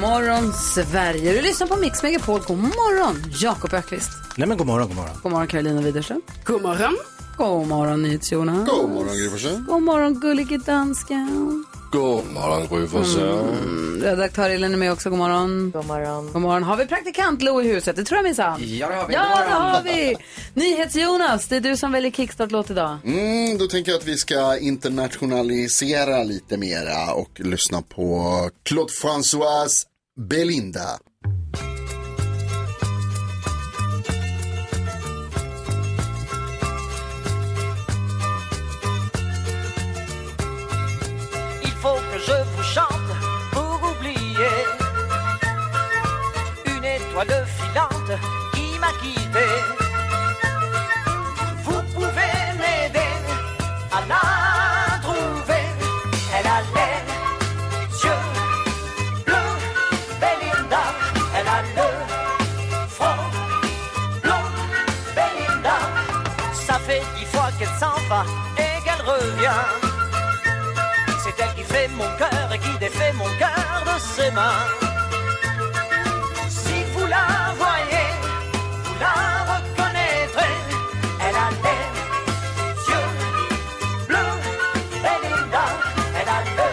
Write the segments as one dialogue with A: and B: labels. A: morgon, Sverige! Du lyssnar på Mix Megapol. God morgon, Jakob Ökvist.
B: Nej men god morgon, god morgon.
A: God morgon, Carolina Widerström. God morgon. God morgon, NyhetsJonas. God
C: morgon, Gry Forssell.
A: God morgon, gullige dansken.
C: God morgon, Gry Forssell.
A: Redaktör Elin är med också. God morgon. God morgon. God morgon. Har vi praktikant Lo i huset? Det tror jag minsann.
D: Ja, det har vi.
A: Ja,
D: God morgon.
A: det har vi. NyhetsJonas, det är du som väljer kickstart-låt idag.
C: Mm, då tänker jag att vi ska internationalisera lite mera och lyssna på Claude François Belinda.
E: Il faut que je vous chante pour oublier une étoile filante qui m'a quitté. Vous pouvez m'aider à la trouver. Elle a les yeux bleus, Belinda. Elle a le front blond, Belinda. Ça fait dix fois qu'elle s'en va et qu'elle revient. C'est elle qui fait mon cœur et qui défait mon cœur de ses mains. Si vous la voyez, vous la reconnaîtrez. Elle a les yeux bleus, Belinda. Elle a le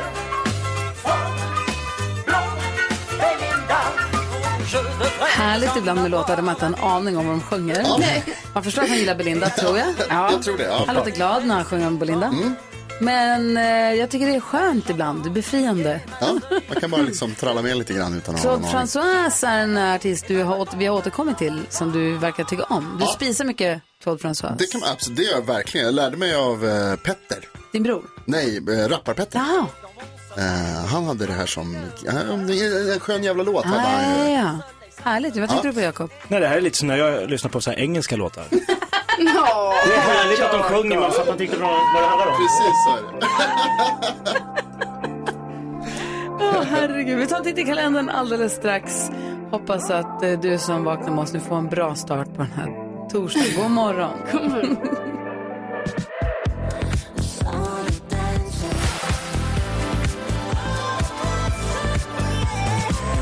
E: front blond, Belinda. Oh, Je devrais.
A: Härligt ibland med låtar där man inte har en aning om vad de sjunger.
C: Nej.
A: Man förstår att han gillar Belinda, tror jag.
C: Jag tror det, ja. Mm.
A: Han låter glad när han sjunger om Belinda. Men eh, jag tycker det är skönt ibland, det är befriande.
C: Ja, man kan bara liksom tralla med lite grann utan att ha
A: Claude
C: någon aning.
A: François är en artist du har, åter- vi har återkommit till som du verkar tycka om. Du spisar mycket Claude François.
C: Det kan man absolut, det gör jag verkligen. Jag lärde mig av eh, Petter.
A: Din bror?
C: Nej, eh, rappar-Petter. Eh, han hade det här som, eh, det är en skön jävla låt. hade han ju.
A: Ja, Ah, ja. Härligt, vad tänkte
C: Ja.
A: du på Jakob?
B: Nej, det här är lite som när jag lyssnar på så här engelska låtar.
A: Ja.
B: Det är härligt att de sjunger, man fattar inte riktigt vad vad det handlar om.
C: Precis så är det.
A: Åh, herregud, vi tar en titt i kalendern alldeles strax. Hoppas att eh, du som vaknar med oss nu får en bra start på den här torsdagen. God morgon.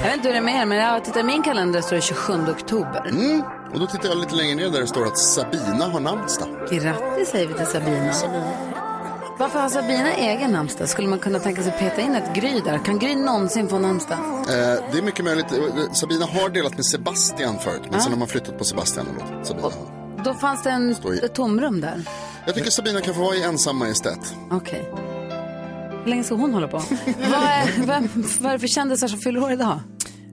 A: Jag vet inte hur det är med er, men jag tittar i min kalender så är det 27 oktober.
C: Mm. Och då tittar jag lite längre ner där det står att Sabina har namnsdag.
A: Grattis säger vi till Sabina. Varför har Sabina egen namnsdag? Skulle man kunna tänka sig peta in ett Gry där? Kan Gry någonsin få namnsdag?
C: Eh, det är mycket möjligt. Eh, Sabina har delat med Sebastian förut, men sen har man flyttat på Sebastian och låtit Sabina. ha.
A: Då fanns det en,
C: Står i-
A: ett tomrum där.
C: Jag tycker Sabina kan få vara i ensam majestät.
A: Okej. Hur länge ska hon hålla på? vad, är, vem, vad är det för kändisar som fyller år idag?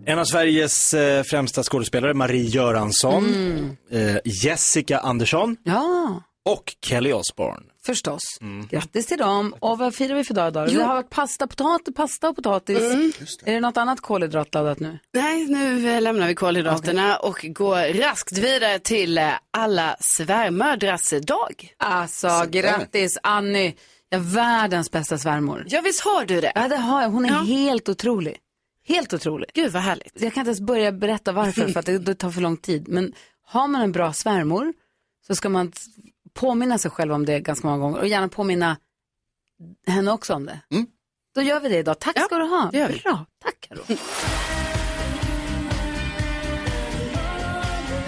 B: En av Sveriges eh, främsta skådespelare, Marie Göransson, eh, Jessica Andersson
A: Ja,
B: och Kelly Osbourne.
A: förstås. Grattis till dem. Och vad firar vi för dag idag?
F: Jo.
A: Det har varit pasta, potatis, pasta och potatis.
F: Mm.
A: Är det något annat kolhydratladdat nu?
F: Nej, nu eh, lämnar vi kolhydraterna och går raskt vidare till eh, alla svärmödrars dag.
A: Alltså, grattis Annie. Jag är världens bästa svärmor.
F: Ja, visst har du det?
A: Ja, det har jag. Hon är helt otrolig. Helt otrolig.
F: Gud, vad härligt.
A: Jag kan inte ens börja berätta varför, för att det, det tar för lång tid. Men har man en bra svärmor så ska man t- påminna sig själv om det ganska många gånger och gärna påminna henne också om det. Då gör vi det idag. Tack ska du ha.
F: det gör vi.
A: Bra, tack Karo.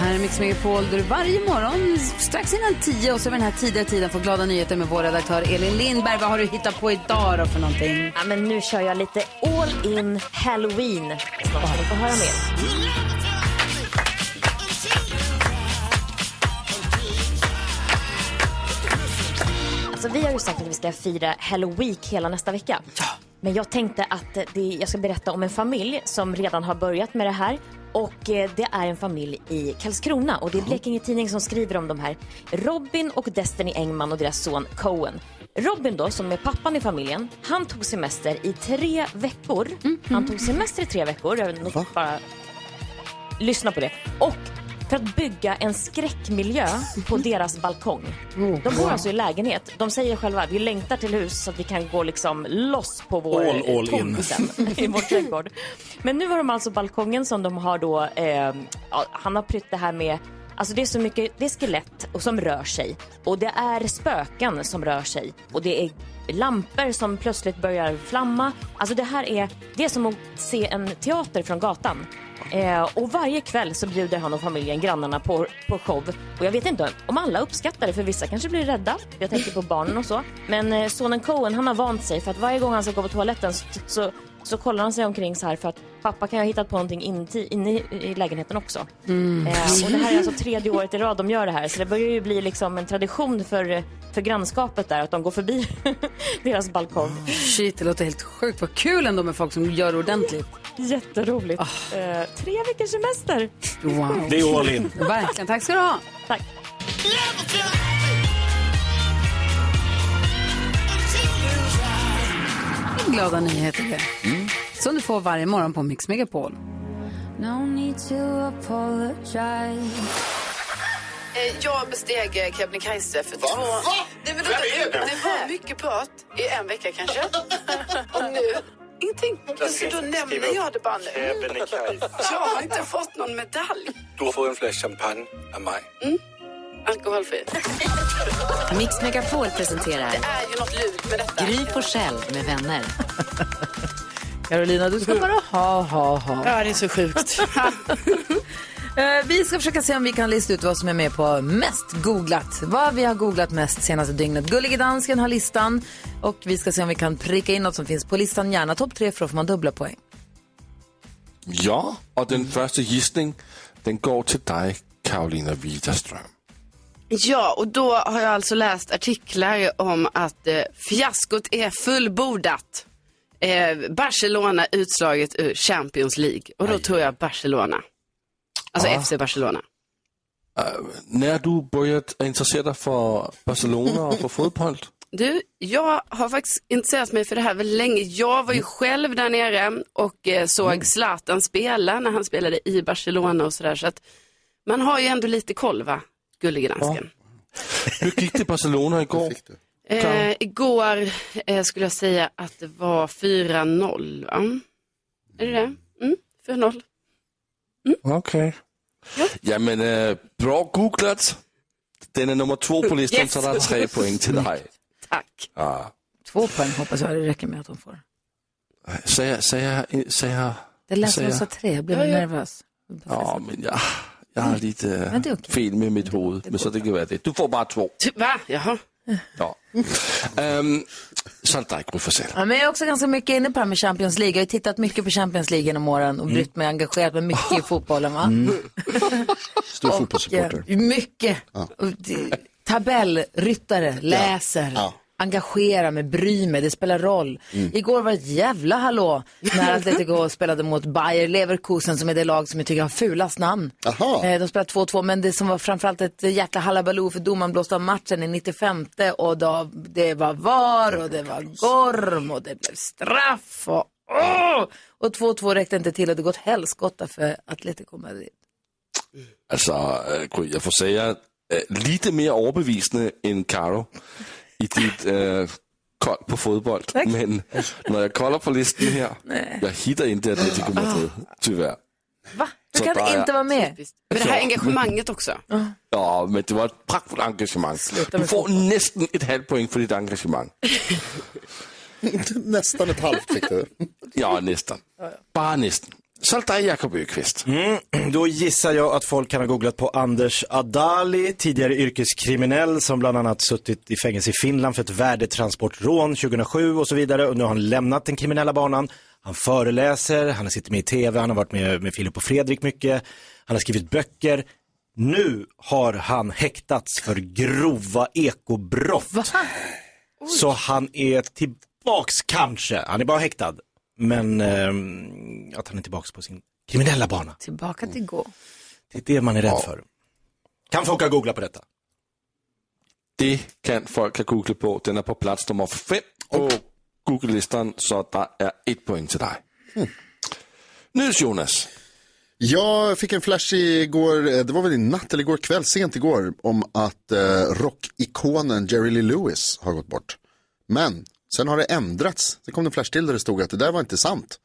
A: Här är Mix Megapol där du varje morgon strax innan tio och så vid den här tidiga tiden får glada nyheter med vår redaktör Elin Lindberg. Vad har du hittat på idag då för någonting?
G: Ja, men nu kör jag lite all in halloween. Snart ska ni få höra mer. Alltså, vi har ju sagt att vi ska fira Halloween hela nästa vecka. Men jag tänkte att eh, det, jag ska berätta om en familj som redan har börjat med det här. Och eh, det är en familj i Karlskrona och det är Blekinge Tidning som skriver om de här. Robin och Destiny Engman och deras son Cohen. Robin då, som är pappan i familjen, han tog semester i tre veckor. Han tog semester i tre veckor. Jag har nog bara Lyssna på det. Och för att bygga en skräckmiljö på
B: Mhm.
G: deras balkong.
B: Oh,
G: De bor alltså i lägenhet. De säger själva, vi längtar till hus så att vi kan gå liksom loss på vår
B: All, all
G: tomt
B: in.
G: sen i vår trädgård. Men nu har de alltså balkongen som de har då, eh, ja, han har prytt det här med Alltså det är så mycket, det är skelett och som rör sig och det är spöken som rör sig och det är lampor som plötsligt börjar flamma. Alltså det här är, det är som att se en teater från gatan. Eh, och varje kväll så bjuder han och familjen grannarna på, på show. Och jag vet inte om alla uppskattar det för vissa kanske blir rädda. Jag tänker på barnen och så. Men eh, sonen Cohen han har vant sig för att varje gång han ska gå på toaletten så, så, så kollar han sig omkring så här för att pappa kan ju ha hittat på någonting inne in i, i lägenheten också. Eh, och det här är alltså tredje året i rad de gör det här så det börjar ju bli liksom en tradition för, för grannskapet där att de går förbi deras balkong.
H: Shit, det låter helt sjukt. Vad kul ändå med folk som gör det ordentligt. Ah.
G: Jätteroligt. Eh, tre veckors semester.
H: Wow.
B: Det är all in.
H: Verkligen. Tack ska du ha.
G: Tack.
H: Glada nyheter det.
A: Mm.
H: Som du får varje morgon på Mix Megapol.
F: Eh, Jag besteg eh, Kebnekaise för två... Nej, men vänta,
C: Vem är du?
F: det var mycket prat i en vecka kanske. Och nu ingenting. Så då nämner jag det bara nu. Jag har inte fått någon medalj. Mm.
I: Du får en flaska champagne av mig.
F: Alkoholfritt.
A: Mix Megapol presenterar
F: Det är ju något lurt med detta.
A: Gry Forssell med vänner.
H: Carolina, du ska bara ha, ha, ha.
F: Ja, det är så sjukt.
A: Eh, Vi ska försöka se om vi kan lista ut vad som är med på mest googlat. Vad vi har googlat mest senaste dygnet. Gullige dansken har listan och vi ska se om vi kan pricka in något som finns på listan. Gärna topp tre för då får man dubbla poäng.
I: Ja, och den första gissningen, den går till dig, Karolina Widerström.
F: Ja, och då har jag alltså läst artiklar om att eh, fiaskot är fullbordat. Eh, Barcelona utslaget ur Champions League. Och då tror jag Barcelona. Alltså FC Barcelona.
I: Eh, När du börjat intressera dig för Barcelona och för fotboll?
F: Du, jag har faktiskt intresserat mig för det här väldigt länge. Jag var ju själv där nere och eh, såg Zlatan spela när han spelade i Barcelona och sådär. Så att man har ju ändå lite koll, va? Gullige dansken.
I: Hur gick det i Barcelona igår?
C: Fick du?
F: Eh, igår eh, skulle jag säga att det var 4-0, va? Är det det? Mm, 4-0.
I: Okej. Ja, men äh, bra googlat. Den är nummer två på listan, så det är tre poäng till dig.
F: Tack.
I: Ja.
A: Två poäng hoppas jag det räcker med att de får.
I: Säger, säger, säger,
A: Det lät som
I: säger.
A: de sa tre, jag blev nervös.
I: Ja, men jag, jag har lite
A: Men det är okej.
I: fel med mitt huvud, men så det kan vara det. Du får bara två.
F: Ty- Va? Jaha.
I: Ja. Ehm, så är det dig, Gry Forssell.
A: Ja, men jag är också ganska mycket inne på det här med Champions League. Jag har ju tittat mycket på Champions League genom åren och
C: Mm.
A: brytt mig engagerat mig mycket i fotbollen. Va?
C: Stor
A: eh,
C: fotbollssupporter.
A: Ja, Mycket. Och det- Tabellryttare, läser,
C: Ja. Mm.
A: engagerar mig, bryr mig, det spelar roll. Igår var det ett jävla hallå när Atletico spelade mot Bayer Leverkusen som är det lag som jag tycker har fulast namn.
C: Aha.
A: Eh, De spelade 2-2, men det som var framförallt ett jäkla hallabaloo för domaren blåste av matchen i 95 och då, det var VAR och det var gorm och det blev straff och åh! Och 2-2 räckte inte till och det gått helskotta för Atletico Madrid.
I: Altså, øh, Gry, jeg får säga øh, lite mere overbevisende end Caro i dit øh, kold på fodbold. Men når jeg kolder på listen her, jeg hitter ikke Atletico Madrid, tyvärr.
A: Va? Du
I: Så
A: kan
I: bara-
A: inte vara med?
F: Men det här engagemanget också.
I: Ja, men det var et pragtfuldt engagement. Du får næsten et halvt point for dit engagement.
C: Nästan ett halvt fick du.
I: Ja, næsten. Bare næsten. Så er det dig, Jacob Öqvist.
B: Mm. Då gissar jag att folk kan ha googlat på Anders Adali, tidigare yrkeskriminell som bland annat suttit i fängelse i Finland för ett värdetransportrån 2007 och så vidare. Och nu har han lämnat den kriminella banan. Han föreläser, han sitter med i tv, han har varit med, med Filip och Fredrik mycket. Han har skrivit böcker. Nu har han häktats för grova ekobrott. Så han är tillbaks kanske. Han är bara häktad. Men ehm, att han är tillbaks på sin kriminella bana.
H: Tillbaka till gå.
B: Det är det man är rädd för. Kan folk ha googlat på detta?
I: Det kan folk have googlet på. Den er på plads nummer 5 på Google-listen, så der er et point til dig. Nydes Jonas.
C: Jag fick en flash igår, eh, det var väl i natt eller igår kväll, sent igår, om att eh, rockikonen Jerry Lee Lewis har gått bort. Men sen har det ändrats. Sen kom det en flash till där det stod att det där var inte sant.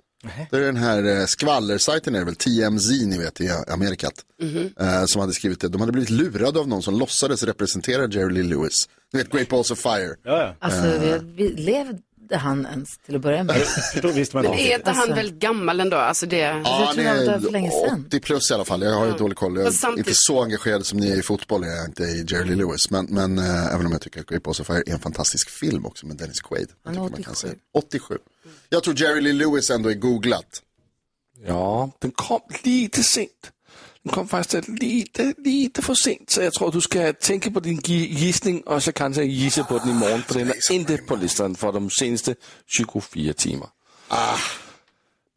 C: Det är den här eh, skvallersajten är det väl, TMZ ni vet i Amerikat.
I: Mhm.
C: eh, som hade skrivit det. De hade blivit lurade av någon som låtsades representera Jerry Lee Lewis. Ni vet Great Balls of Fire.
A: Alltså,
C: Eh,
A: vi, vi, levde han ens till att börja med?
C: visste
F: Men är inte
C: Alltså.
F: han väl gammal ändå? Alltså det...
C: Ja, han är 80 plus i alla fall. Jag har ju dålig koll. Jag är
F: Fast samtidigt-
C: inte så engagerad som ni är i fotboll, jag är inte i Jerry Lee Lewis. Men, men eh, även om jag tycker att Great Balls of Fire är en fantastisk film också med Dennis Quaid. Jag
A: Han är
C: tycker man kan
A: 87.
C: säga. 87. Jag tror Jerry Lee Lewis ändå är googlat.
I: Ja, den kom lite sent. Den kom faktiskt lite, lite för sent, så jag tror du ska tänka på din gi- gissning och så kanske gissa på den imorgon, för den är inte på listan för de senaste 24 timmar.
C: Ah,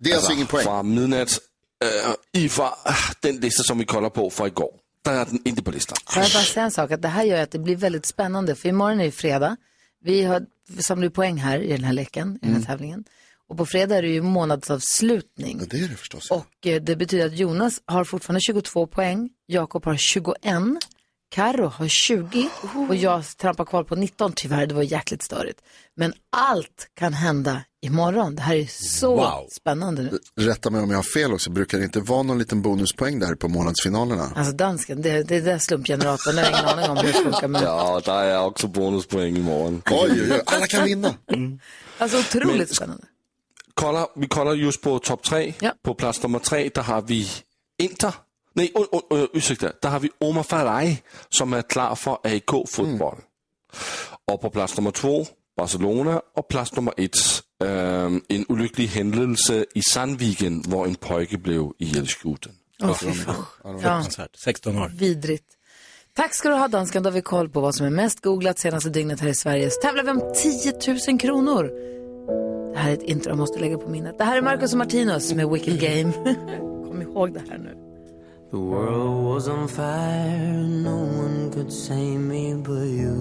C: Det är alltså ingen poäng.
I: Från midnatt, äh, i fra, ah, den lista som vi kollade på från igår, där är den inte på listan.
A: Får jag bara säga en sak? Att det här gör att det blir väldigt spännande. För imorgon är ju fredag. Vi har, vi samlar ju poäng här i den här leken, i den här tävlingen. Och på fredag är det ju månadsavslutning.
C: Det är det förstås.
A: Och eh, det betyder att Jonas har fortfarande 22 poäng. Jakob har 21. Karo har 20. Och jag trampar kvar på 19 tyvärr. Det var jäkligt störigt. Men allt kan hända imorgon. Det här är så
C: Wow.
A: spännande nu.
C: Rätta mig om jag har fel också, brukar det inte vara någon liten bonuspoäng där på månadsfinalerna?
A: Alltså dansken, det, det är där slumpgeneratorn. Jag har ingen aning om hur det funkar. Men...
I: Ja, där är också bonuspoäng imorgon.
C: Oj, oj, oj. Alla kan vinna.
A: Alltså otroligt
I: Men-
A: spännande.
I: kollar, vi kollar just på topp tre. På plats nummer tre, där har vi Inter. Nej, uh, uh, ursäkta. Där har vi Omar Faraj som är klar för AIK fotboll.
A: Mm.
I: Och på plats nummer två, Barcelona. Och plats nummer ett, ehm, en olycklig händelse i Sandviken, där en pojke blev ihjälskjuten.
A: Åh, fy fan. Ja.
B: Fruktansvärt. 16 år.
A: Vidrigt. Tack ska du ha dansken, då har vi koll på vad som är mest googlat senaste dygnet här i Sverige. Så tävlar vi om 10 000 kronor. Det här är ett intro jag måste lägga på minnet. Det här är Marcus och Martinus med Wicked Game. Kom ihåg det här nu.
E: The world was on fire, no one could save me but you.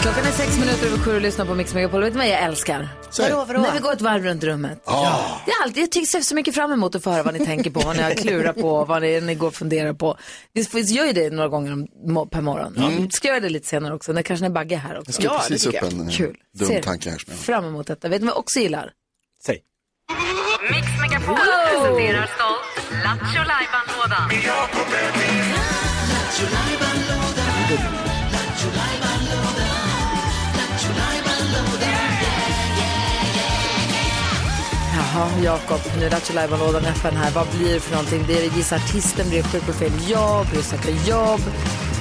A: Klockan är sex minuter över sju och lyssnar på Mix Megapol. Vet du vad jag älskar?
J: Säg. Vadå, vadå?
A: När vi går ett varv runt rummet.
J: Ja.
A: Det är alltid, jag tycker ser så mycket fram emot att få höra vad ni tänker på, vad ni har klurat på, vad ni, ni går och funderar på. Vi får- vi gör ju det några gånger om, må- per morgon.
C: Mm.
A: Ska jag göra det lite senare också, när, kanske när Bagge är här också.
C: Jag skrev precis upp en eh,
A: Kul.
C: dum
A: Ser
C: tanke här. som jag-
A: fram emot detta. Vet ni vad jag också gillar?
K: Mix Megapol presenterar stolt Lattjo Lajban-lådan.
A: Jaha, Jakob, nu är Lattjo Lajban-lådan öppen här. Vad blir det för någonting? Blir det Gissa artisten, blir det Sjuk på fel jobb, blir det Söka jobb,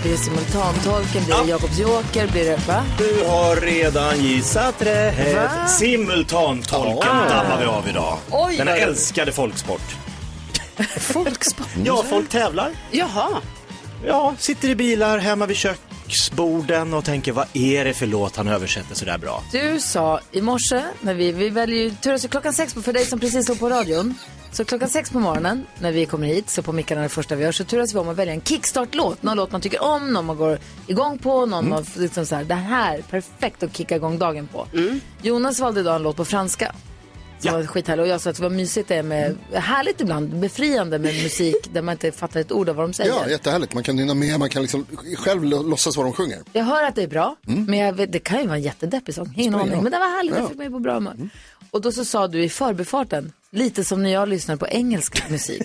A: blir det Simultantolken, blir det Jakobs joker, blir det va?
B: Du har redan gissat
A: Va?
B: rätt. Simultantolken
A: Ah.
B: damlar vi av idag.
A: Oj,
B: Denna
A: vad-
B: älskade folksport.
A: Folksport?
C: Mm.
B: Ja, folk tävlar.
F: Mm. Jaha.
B: Ja, sitter i bilar hemma vid köksborden och tänker vad är det för låt han översätter sådär bra?
A: Du sa i morse, när vi, vi väljer ju tur så klockan sex på, för dig som precis slår på radion. Så klockan sex på morgonen när vi kommer hit, så på mickarna är det första vi gör, så turas vi om att välja en kickstart-låt. Någon låt man tycker om, någon man går igång på, någon man liksom så här, det här, perfekt att kicka igång dagen på. Jonas valde idag en låt på franska. Som var skithärlig och jag sa att vad mysigt det är med, härligt ibland, befriande med musik där man inte fattar ett ord av vad de säger.
C: Ja, jättehärligt. Man kan nynna med, man kan liksom själv lo- låtsas vad de sjunger.
A: Jag hör att det är bra,
B: Mm.
A: men jag vet, det kan ju vara en jättedeppig sång. Ingen
C: Spelar
A: aning,
C: roll.
A: men det var härligt. Det
C: Ja.
A: fick mig på bra humör.
B: Mm.
A: Och då så sa du i förbifarten, lite som när jag lyssnar på engelsk musik.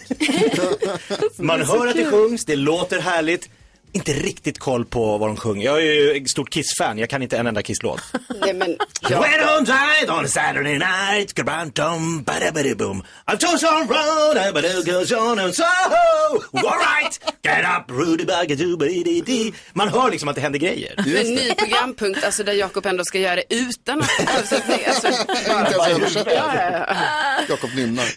B: Man hör att det sjungs, det låter härligt. Inte riktigt koll på vad de sjunger. Jag är ju ett stort Kiss-fan, jag kan inte en enda Kiss-låt.
F: Nej, men,
B: When I'm tired on a Saturday night, grantum, boom. I'm just on road, I'm a goes on and so. All right, get up, Rudy Bagadoobididi. Man hör liksom att det händer grejer.
F: men ny programpunkt, alltså där Jakob ändå ska göra det utan att... Alltså, alltså,
C: Inte ens översatt.
F: ja, ja, ja.
C: Jakob nynnar.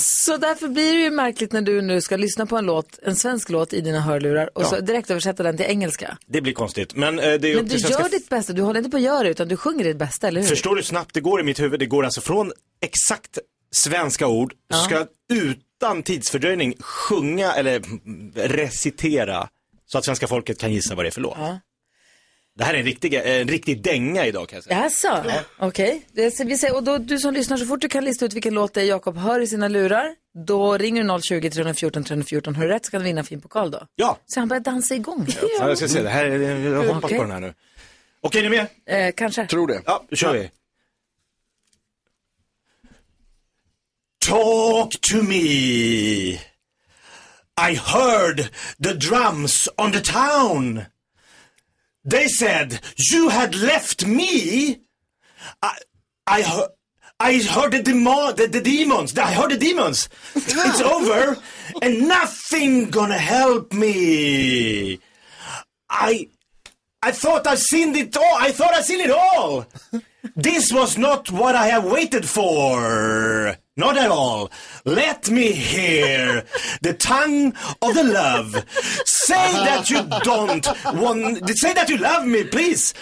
A: Så därför blir det ju märkligt när du nu ska lyssna på en låt, en svensk låt i dina hörlurar och
B: Ja.
A: så direkt översätta den till engelska.
B: Det blir konstigt, men eh, det är upp
A: Men du
B: till svenska
A: gör ditt bästa, du håller inte på att göra det utan du sjunger ditt bästa, eller hur?
B: Förstår du hur snabbt det går i mitt huvud? Det går alltså från exakt svenska ord,
A: Ja.
B: ska jag utan tidsfördröjning sjunga eller mm, recitera så att svenska folket kan gissa vad det är för låt.
A: Ja.
B: Det här är en riktig, en riktig dänga idag kan jag säga.
A: Jaså, okej. Det- så Vi säger, och då, du som lyssnar, så fort du kan lista ut vilken låt det är Jakob hör i sina lurar, då ringer du 020 314 314. Har du rätt så kan du vinna en fin pokal då.
B: Ja.
A: Så han börjar dansa igång.
B: Ja, jag ska se, det här, är- jag hoppas
A: mm. Okej.
B: på den här nu. Okej, är ni med?
A: Eh, kanske.
C: Tror det.
B: Ja, då kör vi. Talk to me. I heard the drums on the town. They said you had left me. I, I heard. I heard the, demo- the, the demons. I heard the demons. It's over, and nothing gonna help me. I I thought I've seen it all. I thought I've seen it all. this was not what I have waited for. Not at all. Let me hear the tongue of the love. Say that you don't want. Say that you love me, please.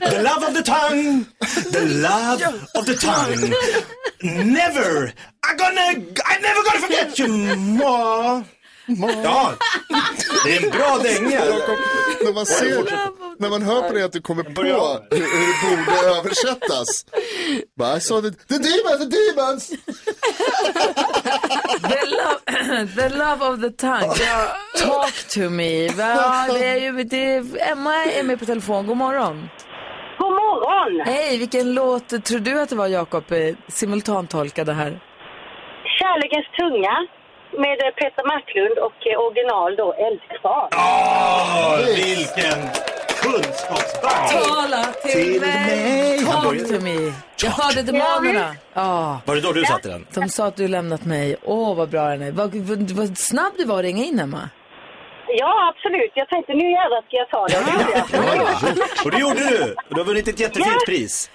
B: The love of the tongue. The love of the tongue. Never. I'm gonna. I'm never gonna forget you, ma. Ja, det är en bra dänga.
C: Jakob, När man, ser, när man hör på det att du kommer på hur, hur det borde översättas. Bara, I saw the, the demons, the demons!
A: The love, the love of the tongue. Talk to me. Ja, det är ju, det är, Emma är med på telefon. God morgon.
L: God morgon!
A: Hej, vilken låt tror du att det var Jakob eh, simultantolkade här?
L: Kärlekens tunga med eh, Peter Marklund och eh, original då Eldkvarn.
B: Åh, vilken kunskapsbank!
A: Tala till, mig.
B: Han
A: Talk
B: började-
A: to me. Jag hörde demonerna. Ja.
B: Var det då du satte den?
A: De sa att du lämnat mig. Åh, vad bra den är. Vad, vad, vad snabb du var att ringa in, Emma.
L: Ja, absolut. Jag tänkte nu jävlar ska jag ta det.
B: Och det gjorde du! Och Du har vunnit ett jättefint pris.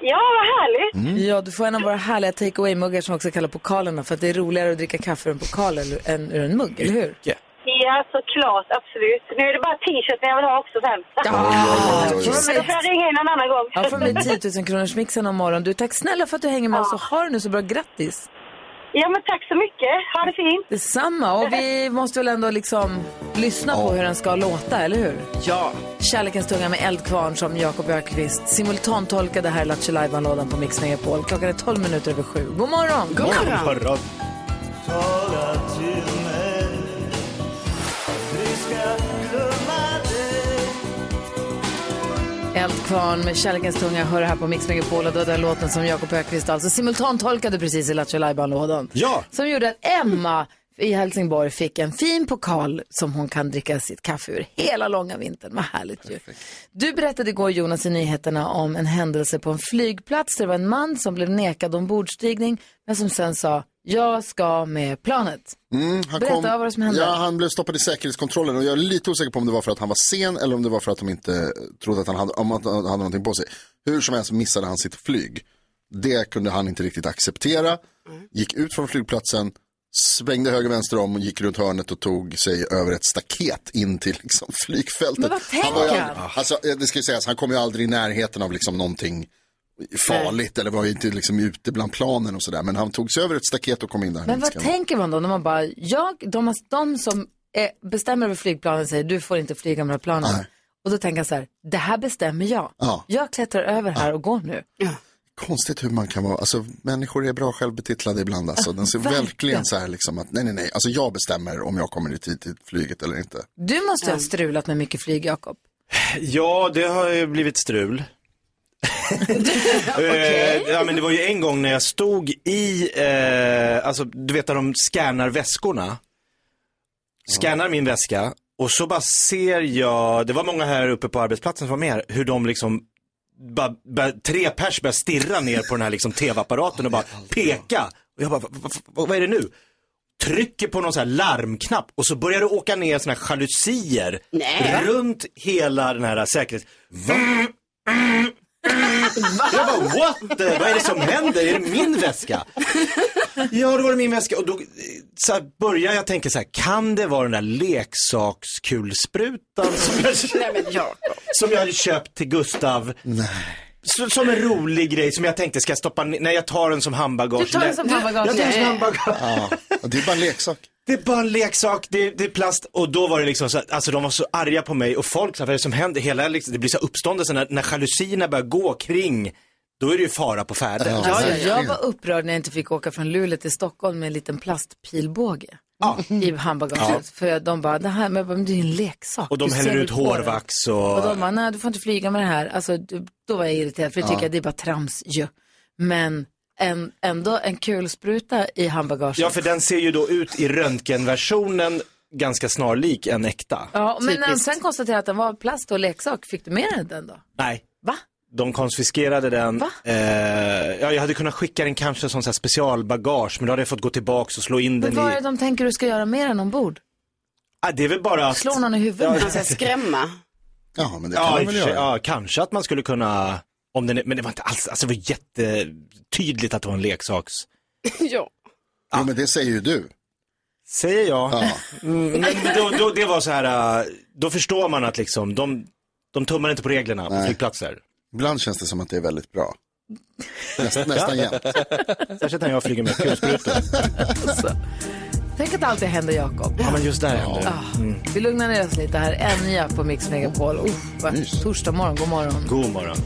L: Ja, vad härligt.
A: Ja, du får en av våra härliga take away-muggar som vi också kallar pokalerna för att det är roligare att dricka kaffe ur en pokal eller- än ur en mugg, eller hur?
L: Ja, såklart. alltså Absolut. Nu är det bara t-shirten jag vill ha också sen. Men då får jag ringa in en annan gång.
A: Ja, får med 10 000 kronors mixen om morgonen. Du, tack snälla för att du hänger med oss och har det nu så bra. Grattis!
L: Ja, men tack så mycket. Ha det fint.
A: Detsamma. Och vi måste väl ändå liksom lyssna på hur den ska låta, eller hur? Ja. Kärlekens tunga med Eldkvarn som Jakob Björkqvist simultantolkade här i Lattjo Lajban-lådan på Mix Megapol. Klockan är 12 minuter över sju. God morgon!
B: morgon.
A: Eldkvarn med Kärlekens tunga hör här på Mix Megapol och då är den låten som Jakob Ökvist alltså simultantolkade precis i Lattjo Lajban-lådan.
B: Ja.
A: Som gjorde att Emma i Helsingborg fick en fin pokal som hon kan dricka sitt kaffe ur hela långa vintern. Vad härligt ju. Du berättade igår Jonas i nyheterna om en händelse på en flygplats där det var en man som blev nekad ombordstigning men som sen sa jag ska med planet.
C: Mm, han
A: Berätta,
C: kom,
A: vad var det som hände?
C: Ja, han blev stoppad i säkerhetskontrollen och jag är lite osäker på om det var för att han var sen eller om det var för att de inte eh, trodde att han hade, om att han hade någonting på sig. Hur som helst missade han sitt flyg. Det kunde han inte riktigt acceptera. Gick ut från flygplatsen, svängde höger vänster om och gick runt hörnet och tog sig över ett staket in till liksom, flygfältet.
E: Men vad tänker
C: var ju
E: han?
C: aldrig- Alltså, eh, det ska ju sägas, han kom ju aldrig i närheten av liksom, någonting farligt eller var ju inte liksom, ute bland planen och sådär. Men han tog sig över ett staket och kom in där. han
A: Men
C: inte
A: vad
C: ska-
A: tänker man då när man bara, jag, de, de som är, bestämmer över flygplanen säger du får inte flyga med de här planen. Och då tänker jag så här, det här bestämmer jag.
C: Ja.
A: Jag klättrar över här och går nu.
C: Konstigt hur man kan vara, alltså människor är bra självbetitlade ibland alltså. Den ser
A: Verkligen.
C: verkligen så här liksom att nej nej nej, alltså jag bestämmer om jag kommer i tid till flyget eller inte.
A: Du måste ha strulat med mycket flyg, Jakob.
B: Ja, det har ju blivit strul. eh, ja, men det var ju en gång när jag stod i, eh, alltså du vet när de scannar väskorna. Scannar min väska och så bara ser jag, det var många här uppe på arbetsplatsen som var med här, hur de liksom bara, bara, tre pers började stirra ner på den här liksom tv-apparaten och bara peka. Och jag bara, "Va- va- va- vad är det nu? Trycker på någon så här larmknapp och så börjar det åka ner såna här jalusier
E: Nej.
B: runt hela den här säkerheten. Jag bara, what? the- Vad är det som händer? Är det min väska? Ja, då var det min väska. Och då eh, så här, börjar jag tänka så här, kan det vara den där leksakskulsprutan som jag, som jag hade köpt till Gustav?
C: Nej.
B: Som en rolig grej som jag tänkte ska jag stoppa ner, nej jag tar den som handbagage.
A: Du tar den som handbagage.
B: Jag tar den som
A: Nej.
B: handbagage.
C: Ja, det är bara en leksak.
B: Det är bara en leksak, det är, det är plast. Och då var det liksom så att, alltså de var så arga på mig och folk, så här, vad är det som händer? Hela, liksom, det blir så här uppståndelse när, när jalusierna börjar gå kring, då är det ju fara på färde.
A: Ja, ja, jag var upprörd när jag inte fick åka från Luleå till Stockholm med en liten plastpilbåge i handbagaget.
B: Ja.
A: För de bara, det här, men jag bara, men det är ju en leksak.
B: Och de
A: Du
B: häller
A: ser
B: ut
A: väl på den."
B: hårvax och...
A: Och de bara, nej du får inte flyga med det här. Alltså, du, då var jag irriterad för jag
B: Ja.
A: tycker att det är bara trams ju. Men en, ändå en kulspruta i handbagaget.
B: Ja, för den ser ju då ut i röntgenversionen ganska snarlik en äkta.
A: Ja, men alltså- när de sen konstaterade att den var plast och leksak, fick du med dig den då?
B: Nej.
A: Va?
B: De konfiskerade den. Eh, ja, jag hade kunnat skicka den kanske som så här specialbagage, men då hade jag fått gå tillbaks och slå in
A: Men
B: den
A: vad
B: i...
A: är det de tänker du ska göra med den ombord?
B: Ah, det är väl bara att...
A: Slå någon i huvudet?
B: Ja,
F: skrämma.
C: Ja, men det kan
B: ja,
C: man
B: i och
C: väl
B: för sig,
C: göra.
B: ja, kanske att man skulle kunna... Om den är... Men det var inte alls... Alltså det var jättetydligt att det var en leksaks...
F: ja.
C: Jo, men det säger ju du.
B: Säger jag? Mm, men då, då, det var så här, eh, då förstår man att liksom, de, de tummar inte på reglerna på
C: Nej.
B: flygplatser.
C: Ibland känns det som att det är väldigt bra. Näst, nästan jämt.
B: Särskilt när jag flyger med kulsprutor.
A: Tänk att allt det händer Jakob.
B: Ja, men just där händer
A: Ah,
B: det. Mm.
A: Vi lugnar ner oss lite här. Enya på Mix Megapol. Uff, vad- torsdag morgon, god morgon.
B: God morgon.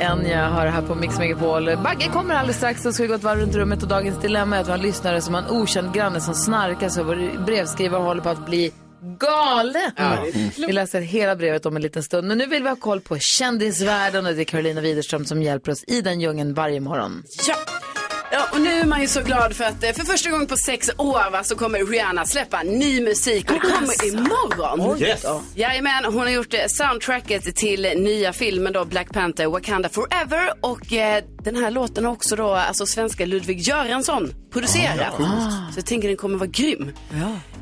A: Enya har det här på Mix Megapol. Bagge kommer alldeles strax. Då ska vi gå ett varv runt rummet. Och dagens dilemma är att vi har en lyssnare som har en okänd granne som snarkar så vår brevskrivare håller på att bli galen. Vi läser hela brevet om en liten stund. Men nu vill vi ha koll på kändisvärlden och det är Carolina Widerström som hjälper oss i den djungeln varje morgon.
F: Ja. Ja, och nu är man ju så glad för att eh, för första gången på sex år va, så kommer Rihanna släppa ny musik och det kommer imorgon.
E: Oj Yes. då.
F: Jajamän, hon har gjort eh, soundtracket till nya filmen då Black Panther Wakanda Forever och eh, den här låten har också då alltså svenska Ludvig Göransson producerat.
E: Ah,
F: så jag tänker den kommer vara grym.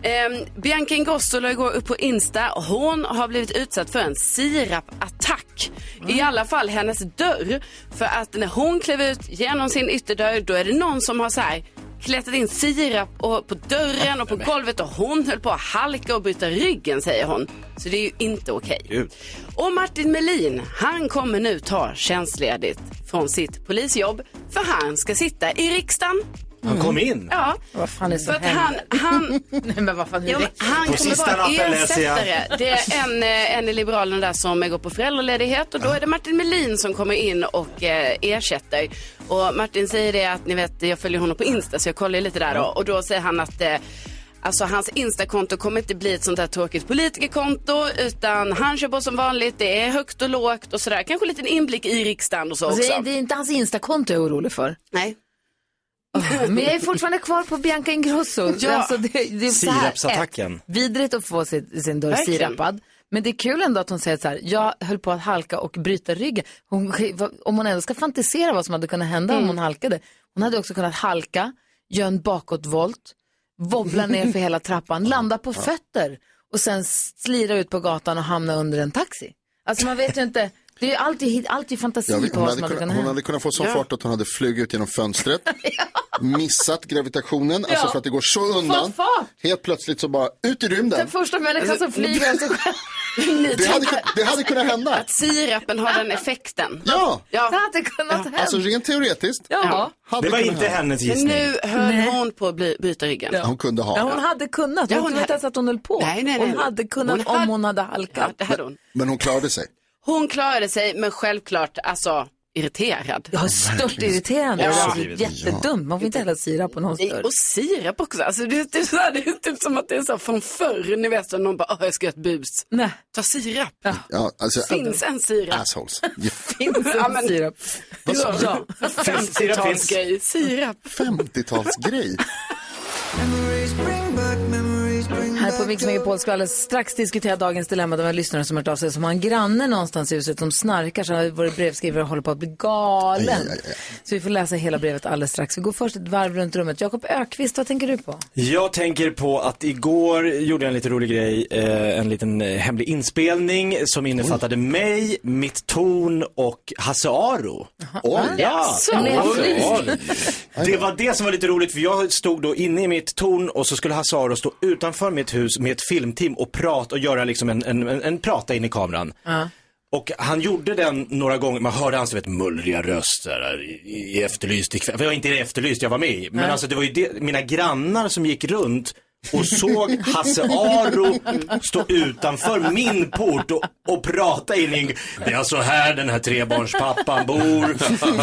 F: Ehm, Bianca Ingrosso la igår upp på Insta. Hon har blivit utsatt för en sirapattack. I alla fall hennes dörr. För att när hon klev ut genom sin ytterdörr då är det någon som har så här klättrat in sirap och på dörren och på golvet och hon höll på att halka och bryta ryggen säger hon. Så det är ju inte okej. Och Martin Melin, han kommer nu ta tjänstledigt från sitt polisjobb för han ska sitta i riksdagen.
B: Han kom in?
F: Mm. Ja.
A: Vad fan är det som
F: För att han,
A: händer?
F: han,
A: Nej, men vad fan, nu
F: Jo, men
A: räcker det.
F: han kommer vara ersättare. Det
A: Det-
F: är en, eh, en i Liberalerna där som eh, går på föräldraledighet och då är det Martin Melin som kommer in och eh, ersätter. Och Martin säger det att, ni vet, jag följer honom på Insta så jag kollar ju lite där då. Och då säger han att eh, Alltså hans Instakonto kommer inte bli ett sånt här tråkigt politikerkonto utan han kör på som vanligt, det är högt och lågt och sådär. Kanske en liten inblick i riksdagen och så
A: Alltså,
F: också.
A: det är- det är inte hans Insta-konto jag är orolig för.
F: Nej.
A: Men jag är fortfarande kvar på Bianca Ingrosso.
F: Ja.
A: Alltså, det, det är så här,
B: Sirapsattacken.
A: ett, Vidrigt att få sin, sin dörr
F: Verkligen.
A: sirapad. Men det är kul ändå att hon säger så här, jag höll på att halka och bryta ryggen. Hon, om hon ändå ska fantisera vad som hade kunnat hända om
F: Mm.
A: hon halkade. Hon hade också kunnat halka, göra en bakåtvolt, wobbla ner för hela trappan, landa på fötter och sen slira ut på gatan och hamna under en taxi. Alltså man vet ju inte, det är ju alltid, alltid fantasi
C: Ja,
A: på
C: vi- hon,
A: vad som
C: hade
A: hade
C: kunnat,
A: kunnat
C: hon
A: hända.
C: hade kunnat få sån
A: Ja.
C: fart att hon hade flugit ut genom fönstret, missat gravitationen, alltså
A: Ja.
C: för att det går så undan.
A: Fått fart.
C: Helt plötsligt så bara ut i
A: Den
C: rymden.
A: första människan
F: Alltså,
A: som flyger av sig själv.
C: Alltså, Det hade, kun- det hade kunnat hända.
F: Att sirapen har den effekten.
C: Ja.
F: ja.
A: Det hade kunnat hända.
C: Alltså rent teoretiskt.
A: Ja.
C: hade kunnat hända.
F: Men nu höll hon på att bli, bryta ryggen.
C: Hon kunde ha.
A: Ja, hon hade kunnat.
F: Ja,
A: Hon, hon
F: hon
A: vet
F: hade-
A: inte ens att hon höll på.
F: Nej, nej, nej.
A: Hon hade kunnat
F: Hon hade-
A: om hon hade halkat.
F: det hade hon.
C: Men hon klarade sig.
F: Hon klarade sig, men självklart alltså irriterad.
A: Ja, Stört irriterande.
F: Ja.
A: Alltså, jättedumt. Man får inte hälla sirap på någons
F: Nej,
A: dörr.
F: Och sirap också. Alltså, det, är typ så här, det är typ som att det är så här från förr, ni vet, så någon bara, "Åh, jag ska göra ett bus.
A: Nej.
F: Ta sirap.
C: Ja, alltså,
F: Finns en sirap?
C: Assholes.
F: Finns en sirap?
C: Vad sa du?
F: Ja,
C: Finns- sirap finns.
F: 50-talsgrej. Sirap.
C: 50-talsgrej.
A: Här på Mix Megapol ska vi alldeles strax diskutera dagens dilemma. Det var en lyssnare som hört av sig som har en granne någonstans i huset som snarkar så vår brevskrivare håller på att bli galen. Så vi får läsa hela brevet alldeles strax. Vi går först ett varv runt rummet. Jakob Ökvist, vad tänker du på?
B: Jag tänker på att igår gjorde jag en lite rolig grej, eh, en liten eh, hemlig inspelning som innefattade mig, mitt torn och Hasse Aro.
C: Oj.
B: Ja.
E: Jaså. En hemlig.
B: Oj. Det var det som var lite roligt för jag stod då inne i mitt torn och så skulle Hasse Aro stå utanför mitt hus med ett filmteam och prata och göra liksom en, en, en, en prata in i kameran. Och han gjorde den några gånger, man hörde hans vet, mullriga röster i, i Efterlyst ikväll. För jag var inte i Efterlyst, jag var med i. Men
M: Nej.
B: alltså det var ju det, mina grannar som gick runt och såg Hasse Aro stå utanför min port och, och prata in i en... Det är alltså här den här trebarnspappan bor,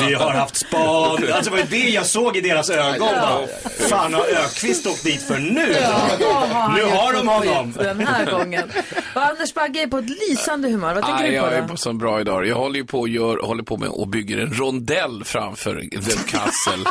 B: vi har haft span. Alltså det var ju det jag såg i deras ögon.
E: Ja.
B: Bara, Fan har Ökvist åkt dit för nu?
E: Ja,
A: då har han
B: nu
A: gjort
B: har de
A: något
B: honom.
A: skit Den här gången. Och Anders Bagge är på ett lysande humör. Vad tänker
N: Nej,
A: du på
N: jag är
A: då?
N: på sån bra idag. Jag håller ju på och, gör, håller på med och bygger en rondell framför The Castle.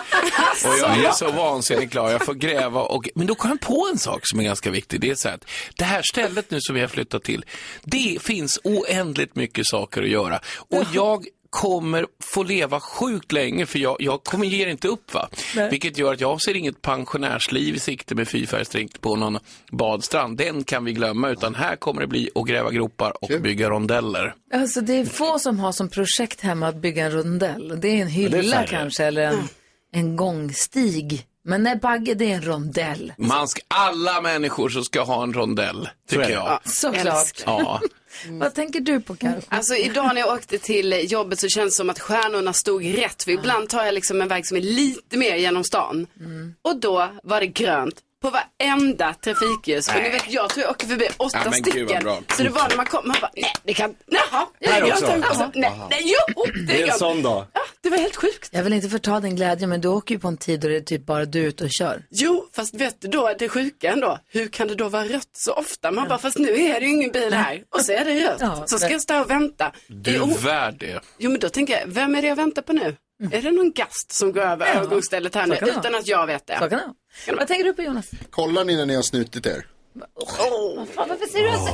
N: och jag är så vansinnigt klar. Jag får gräva och... Men då kom jag på en sak som är ganska viktig. Det är så här att det här stället nu som vi har flyttat till, det finns oändligt mycket saker att göra. Och jag kommer få leva sjukt länge för jag, jag kommer ger inte upp. va
E: Nej.
N: Vilket gör att jag ser inget pensionärsliv i sikte med fyrfärgstrinkt på någon badstrand. Den kan vi glömma utan här kommer det bli att gräva gropar och bygga rondeller.
A: Alltså, det är få som har som projekt hemma att bygga en rondell. Det är
N: Men
A: en
N: det är
A: hylla
N: färre.
A: kanske eller en, en gångstig. Men nej, Bagge det är en rondell.
N: Man ska, alla människor som ska ha en rondell, tycker jag.
A: Såklart.
N: Ja.
A: Mm. Vad tänker du på Karo?
F: Alltså idag när jag åkte till jobbet så kändes det som att stjärnorna stod rätt. För ibland tar jag liksom en väg som är lite mer genom stan.
A: Mm.
F: Och då var det grönt på varenda trafikljus. Och ni
E: Nej.
F: vet, jag tror jag åker förbi åtta
E: Ja, men gud,
F: stycken.
E: vad bra.
F: Så det var när man kom, man bara, nej det kan, jaha, det
E: Här
F: är grönt
E: också?
F: här också.
E: Jaha.
F: Alltså, Nej, nej, jo, det är grönt.
B: dag.
F: Det var helt sjukt.
A: Jag vill inte förta din glädje men du åker ju på en tid då det är typ bara du ute och kör.
F: Jo, fast vet du då, det sjuka ändå, hur kan det då vara rött så ofta? Man bara, fast nu är det ju ingen bil här och så är det rött.
A: Ja,
F: så ska
A: men-
F: jag stå och vänta.
N: Du är värd det.
F: Jo men då tänker jag, vem är det jag väntar på nu? Är det någon gast som går över övergångsstället här
A: Mm. Så
F: nu
A: kan det vara.
F: utan att jag vet det?
A: Så kan det Vad tänker du på Jonas?
C: Kollar ni när ni har snutit er?
A: Vad fan, varför säger du så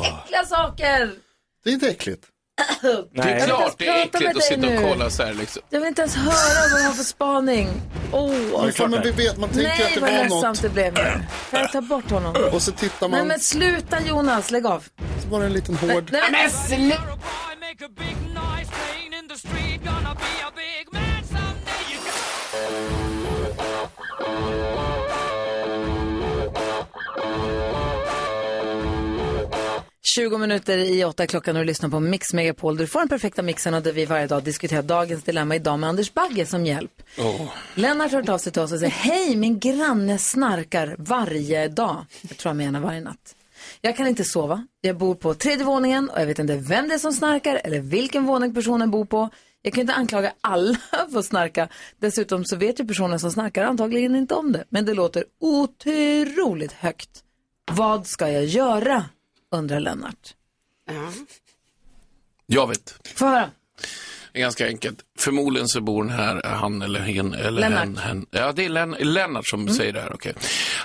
A: äckliga saker?
C: Det är inte äckligt.
N: Det är klart det är
A: prata
N: äckligt
A: med
N: att
A: dig
N: sitta och
A: nu.
N: kolla så här liksom.
A: Jag vill inte ens höra vad du har för spaning. Oh.
C: Men fan, men vi vet, man tänker
A: Nej,
C: att det
A: vad
C: var
A: ledsamt
C: något.
A: det blev nu. Kan jag ta bort honom?
C: Och så tittar
A: Nej
C: man.
A: men sluta Jonas, lägg av.
C: Så var det en liten hård.
A: Nej, nej, men slu- Tjugo minuter i åtta klockan och du lyssnar på Mix Megapol. Du får den perfekta mixen och där vi varje dag diskuterar dagens dilemma idag med Anders Bagge som hjälp. Lennart har hört av sig till oss och säger Hej, min granne snarkar varje dag. Jag tror han menar varje natt. Jag kan inte sova. Jag bor på tredje våningen och jag vet inte vem det är som snarkar eller vilken våning personen bor på. Jag kan ju inte anklaga alla för att snarka. Dessutom så vet ju personen som snarkar antagligen inte om det. Men det låter otroligt högt. Vad ska jag göra? undrar Lennart.
N: Jag vet.
A: Få höra.
N: Det är ganska enkelt. Förmodligen så bor den här, eh, han eller hen, eller
A: Lennart. Mm.
N: hen, hen. Ja, det är Len, Lennart som säger det här, okej.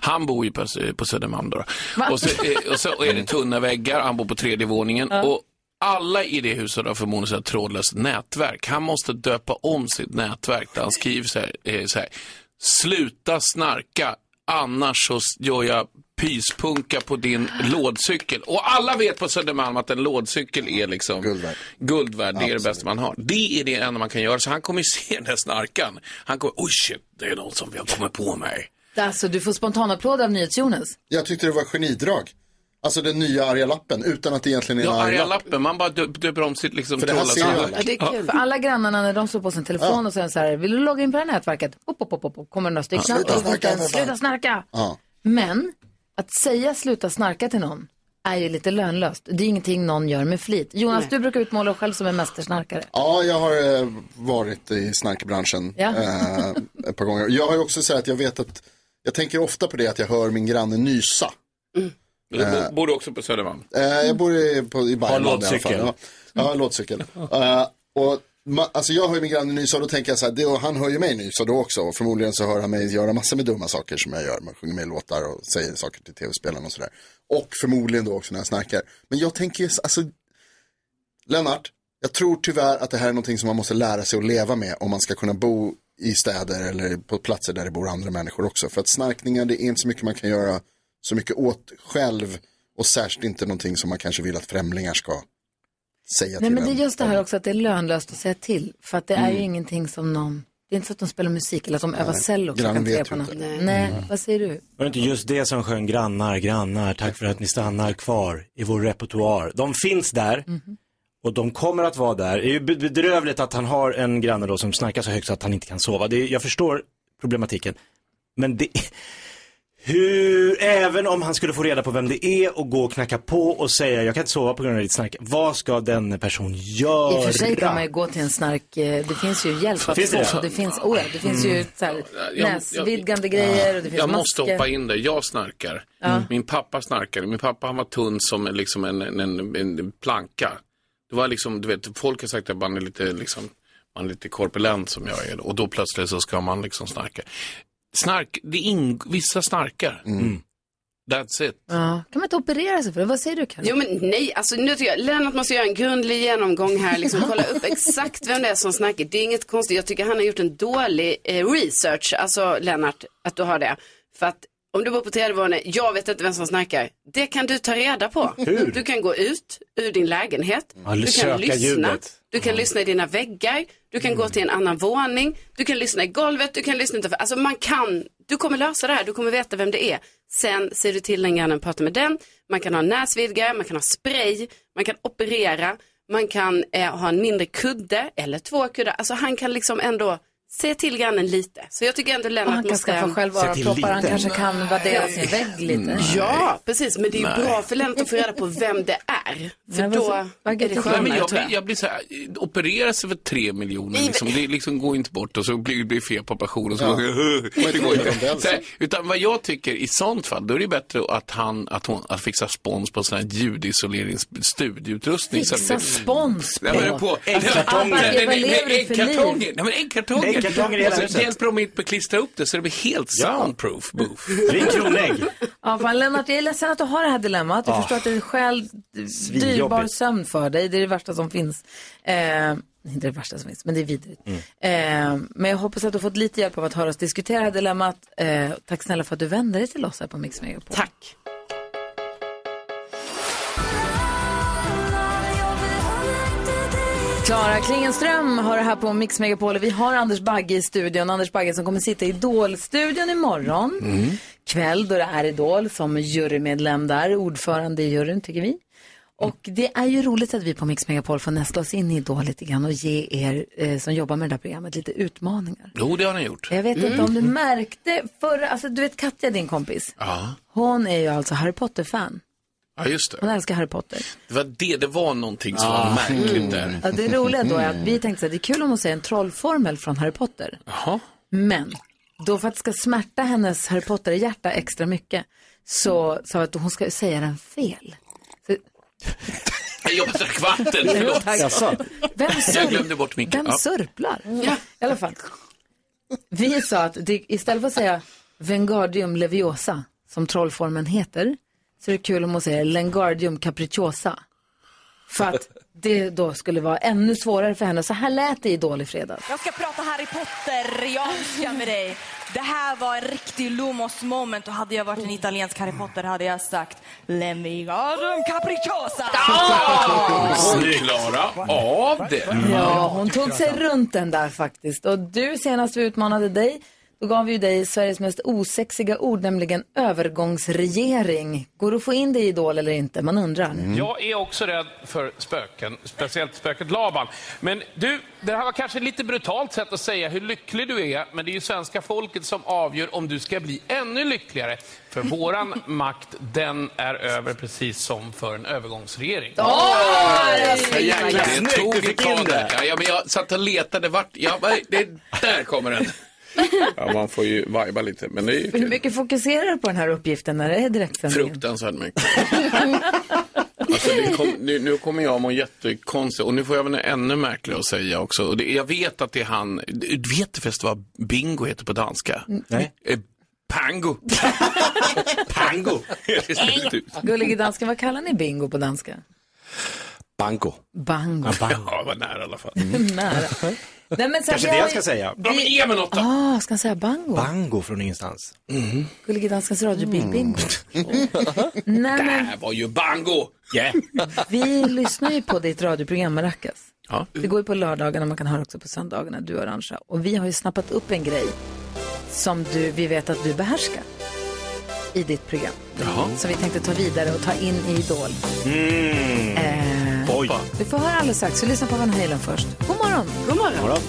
N: Han bor ju på, på Södermalm då. då.
E: Va?
N: Och så, eh, och så är det tunna väggar, han bor på tredje våningen.
E: Ja.
N: Och alla i det huset har förmodligen så här trådlöst nätverk. Han måste döpa om sitt nätverk där han skriver så här, eh, så här sluta snarka, annars så gör jag pyspunka på din lådcykel. Och alla vet på Södermalm att en lådcykel är liksom guld värd. det är det bästa man har. Det är det enda man kan göra. Så han kommer ju se den där snarkan. Han kommer, oj shit, det är någon som vill komma på mig.
A: Alltså, du får spontanapplåd av NyhetsJonas.
C: Jag tyckte det var genidrag. Alltså den nya arga lappen utan att det egentligen är en
N: Ja,
C: arg
N: arga
C: lapp.
N: lappen, man bara dö- döper om sitt liksom
C: För det här
N: trådlösa
C: ser ju alla.
N: nätverk.
C: Ja, det är
N: Ja.
C: kul.
A: För alla grannarna när de slår på sin telefon och säger så här, vill du logga in på det här nätverket? Upp, upp, upp, upp, upp. kommer några stycken.
C: Ja, sluta
A: Och så
C: snarka,
A: den,
C: för fan.
A: Sluta snarka!
C: Ja.
A: Men att säga sluta snarka till någon är ju lite lönlöst. Det är ingenting någon gör med flit. Jonas,
C: Nej.
A: du brukar utmåla dig själv som en mästersnarkare.
C: Ja, jag har eh, varit i snarkbranschen
A: Ja.
C: eh, ett par gånger. Jag har ju också sagt att jag vet att jag tänker ofta på det att jag hör min granne nysa.
N: Du bo- bor du också på Södermalm?
C: Eh, jag bor i, på, i Bergman
N: Har lådcykel.
C: i alla fall. Ja, jag har lådcykel. Eh, och ma- alltså jag hör ju min granne nysa och då tänker jag så här, det, och han hör ju mig nysa då också. Och förmodligen så hör han mig göra massor med dumma saker som jag gör. Man sjunger med i låtar och säger saker till tv-spelarna och sådär. Och förmodligen då också när jag snarkar. Men jag tänker, ju- alltså, Lennart, jag tror tyvärr att det här är någonting som man måste lära sig att leva med om man ska kunna bo i städer eller på platser där det bor andra människor också. För att snarkningar, det är inte så mycket man kan göra så mycket åt själv och särskilt inte någonting som man kanske vill att främlingar ska säga
A: Nej,
C: till
A: men det är
C: en.
A: just det här också att det är lönlöst att säga till. För att det är ju
C: Mm.
A: ingenting som någon, det är inte så att de spelar musik eller att de övar
B: Nej.
A: cello klockan
B: Grannen
A: tre
B: vet
A: på
B: ju
A: natten.
B: inte.
A: Nej,
B: Nej.
C: Mm.
A: vad säger du?
B: Var det inte just det som sjöng grannar, grannar, tack för att ni stannar kvar i vår repertoar. De finns där Och de kommer att vara där. Det är ju be- bedrövligt att han har en granne då som snarkar så högt så att han inte kan sova. Det är, jag förstår problematiken. Men det, hur, även om han skulle få reda på vem det är och gå och knacka på och säga jag kan inte sova på grund av ditt snark. Vad ska den person
A: I
B: göra?
A: och för sig kan man ju gå till en snark, eh, det finns ju hjälp att
B: Finns det
A: få.
B: det?
A: Det finns, oh ja, det finns ju så här,
N: jag-
A: näsvidgande grejer och det finns
N: jag måste
A: masker.
N: hoppa in där. Jag snarkar. Mm.
A: Ja.
N: Min pappa snarkade. Min pappa han var tunn som en- liksom en, en, en, en planka. Det var liksom, du vet, folk har sagt att man är lite, liksom, man är lite korpulent som jag är. Och då plötsligt så ska man liksom snarka. Snark, det ing, vissa snarkar. That's it.
A: Mm. Ja. Kan man inte operera sig för det? Vad säger du Karin?
F: Jo men nej, alltså nu tycker jag Lennart måste göra en grundlig genomgång här, liksom kolla upp exakt vem det är som snackar. Det är inget konstigt, jag tycker han har gjort en dålig eh, research, alltså Lennart, att du har det. För att om du bor på tredje våningen, jag vet inte vem som snackar. Det kan du ta reda på.
B: Hur?
F: Du kan gå ut ur din lägenhet,
B: Ja,
F: du
B: söka
F: kan lyssna,
B: ljudet.
F: du kan lyssna i dina väggar, du kan gå till en annan våning, du kan lyssna i golvet, du kan lyssna utanför. Alltså man kan, du kommer lösa det här, du kommer veta vem det är. Sen ser du till den grannen och pratar med den. Man kan ha näsvidgare, man kan ha spray, man kan operera, man kan eh, ha en mindre kudde eller två kuddar. Alltså han kan liksom ändå se till grannen lite. Så jag tycker ändå Lennart
A: Han kan
F: måste...
A: skaffa själv
F: Se till
A: öronproppar, han
F: lite.
A: kanske kan värdera sin vägg lite.
F: Ja, precis. Men det är ju
N: Nej.
F: bra för Lennart att få reda på vem det är. För
A: Men vad-
F: då
A: vad
F: är det
A: grattis.
F: skönare
N: Nej, men jag,
F: tror
N: blir,
F: jag.
N: jag blir så här, eh, operera sig för tre miljoner
F: Nej,
N: liksom. Det liksom går inte bort och så blir det blir fel på operationen. Så
C: Ja.
N: ja.
C: Men
N: det
C: det
N: går
C: är inte
N: inte.
C: ens.
N: Så här, utan vad jag tycker i sånt fall, då är det bättre att han, att hon, att fixa spons på sån här ljudisoleringsstudioutrustning.
A: Fixa spons på. Alltså,
N: Nej, men på
A: Äggkartonger.
N: Nej, nej, nej,
A: Vad lever du för liv?
N: Äggkartonger. Nej, men äggkartonger.
A: Äggkartonger i hela
N: Och så
A: huset.
N: Hjälper de inte att klistra upp det så det blir helt soundproof booth.
B: Det är kronägg.
A: Ja, fan, Lennart, jag är ledsen att du har det här dilemmat. Jag
N: Ah.
A: förstår att det är själ
B: Svinjobbigt.
A: dyrbar sömn för dig. Det är det värsta som finns. Eh, inte det värsta som finns, men det är vidrigt. Eh, men jag hoppas att du har fått lite hjälp av att höra oss diskutera det här dilemmat. Eh, tack snälla för att du vände dig till oss här på Mix Megapol.
F: Tack.
A: Klara Klingenström har det här på Mix Megapol. Vi har Anders Bagge i studion. Anders Bagge som kommer sitta i Idol-studion imorgon.
O: Mm.
A: kväll då det är Idol som jurymedlem där, ordförande i juryn tycker vi. Och det är ju roligt att vi på Mix Megapol får nästla oss in i Idol lite grann och ge er eh, som jobbar med det här programmet lite utmaningar. Mm.
N: Jo, det har ni gjort.
A: Jag vet inte om du märkte förra, alltså du vet Katja din kompis,
N: Ja,
A: hon är ju alltså Harry Potter-fan.
N: ja just det.
A: Hon älskar Harry Potter.
N: Det var det, det var någonting som
E: Ah.
N: var
A: Mm.
N: märkligt där.
A: Ja, det roliga då är att vi tänkte att det är kul om hon säger en trollformel från Harry Potter.
N: Jaha.
A: Men då för att det ska smärta hennes Harry Potter-hjärta extra mycket så sa vi att hon ska säga den fel.
N: Jag jobbar och drack vatten, förlåt.
A: Tack. Vem
N: Jag
A: sörplar?
N: glömde bort min
A: Vem
N: ja.
A: sörplar? I alla fall. Vi sa att det, istället för att säga Vengardium Leviosa, som trollformen heter, så är det kul om hon säger Lengardium Capricciosa. För att det då skulle vara ännu svårare för henne. Så här lät det i Idol i fredags.
M: Jag ska prata Harry Potter, jag önskar med dig. Det här var en riktig Lumos moment och hade jag varit en italiensk Harry Potter hade jag sagt Lemigardum capricciosa.
N: Snyggt. Klara av det.
A: Ja, hon tog sig runt den där faktiskt. Och du senast vi utmanade dig, då gav vi ju dig Sveriges mest osexiga ord, nämligen övergångsregering. Går det att få in det i Idol eller inte? Man undrar.
N: Mm.
P: Jag är också rädd för spöken, speciellt spöket Laban. Men du, det här var kanske ett lite brutalt sätt att säga hur lycklig du är, men det är ju svenska folket som avgör om du ska bli ännu lyckligare. För våran makt, den är över precis som för en övergångsregering.
N: Ja, jäklar,
P: Snyggt,
N: det tog
P: du
N: ett
P: fick
N: tag
P: in
N: där. Ja, ja, men jag satt och letade vart... Ja, men det, där kommer den. Ja, man får ju vajba lite, men det är ju
A: Hur mycket fokuserar du på den här uppgiften när det är direktsändning?
N: fruktansvärt mycket. Alltså, det kom, nu, nu kommer jag att må jättekonstig och nu får jag väl ännu märkligare att säga också. Och det, jag vet att det är han... Du vet förresten vad bingo heter på danska?
B: Nej.
N: Eh, Pango. Pango. Det ser ut.
A: Gullige dansken, vad kallar ni bingo på danska?
I: Bango.
A: Bango.
N: Ja, vad nära i alla fall.
A: Nära. Nej, men så
B: Mm.
A: här,
B: Kanske
A: vi
B: det
A: har
B: jag
A: ju-
B: ska säga.
A: Ja, men ge mig
N: något
B: då.
A: Ah, ska han säga bango?
B: Bango från ingenstans.
A: Gullige danskens radiobilbingo. Nej, men
N: Det var ju bango! Yeah.
A: Vi lyssnar ju på ditt radioprogram Maracas.
N: Ja.
A: Det går ju på lördagarna, man kan höra också på söndagarna, du och Arantxa. Och vi har ju snappat upp en grej som du, vi vet att du behärskar i ditt program.
E: Jaha.
A: Som vi tänkte ta vidare och ta in i Idol.
E: Mm.
A: Eh,
N: allihopa.
A: Du får höra alldeles strax, så lyssna på Van Halen först. God morgon! God morgon!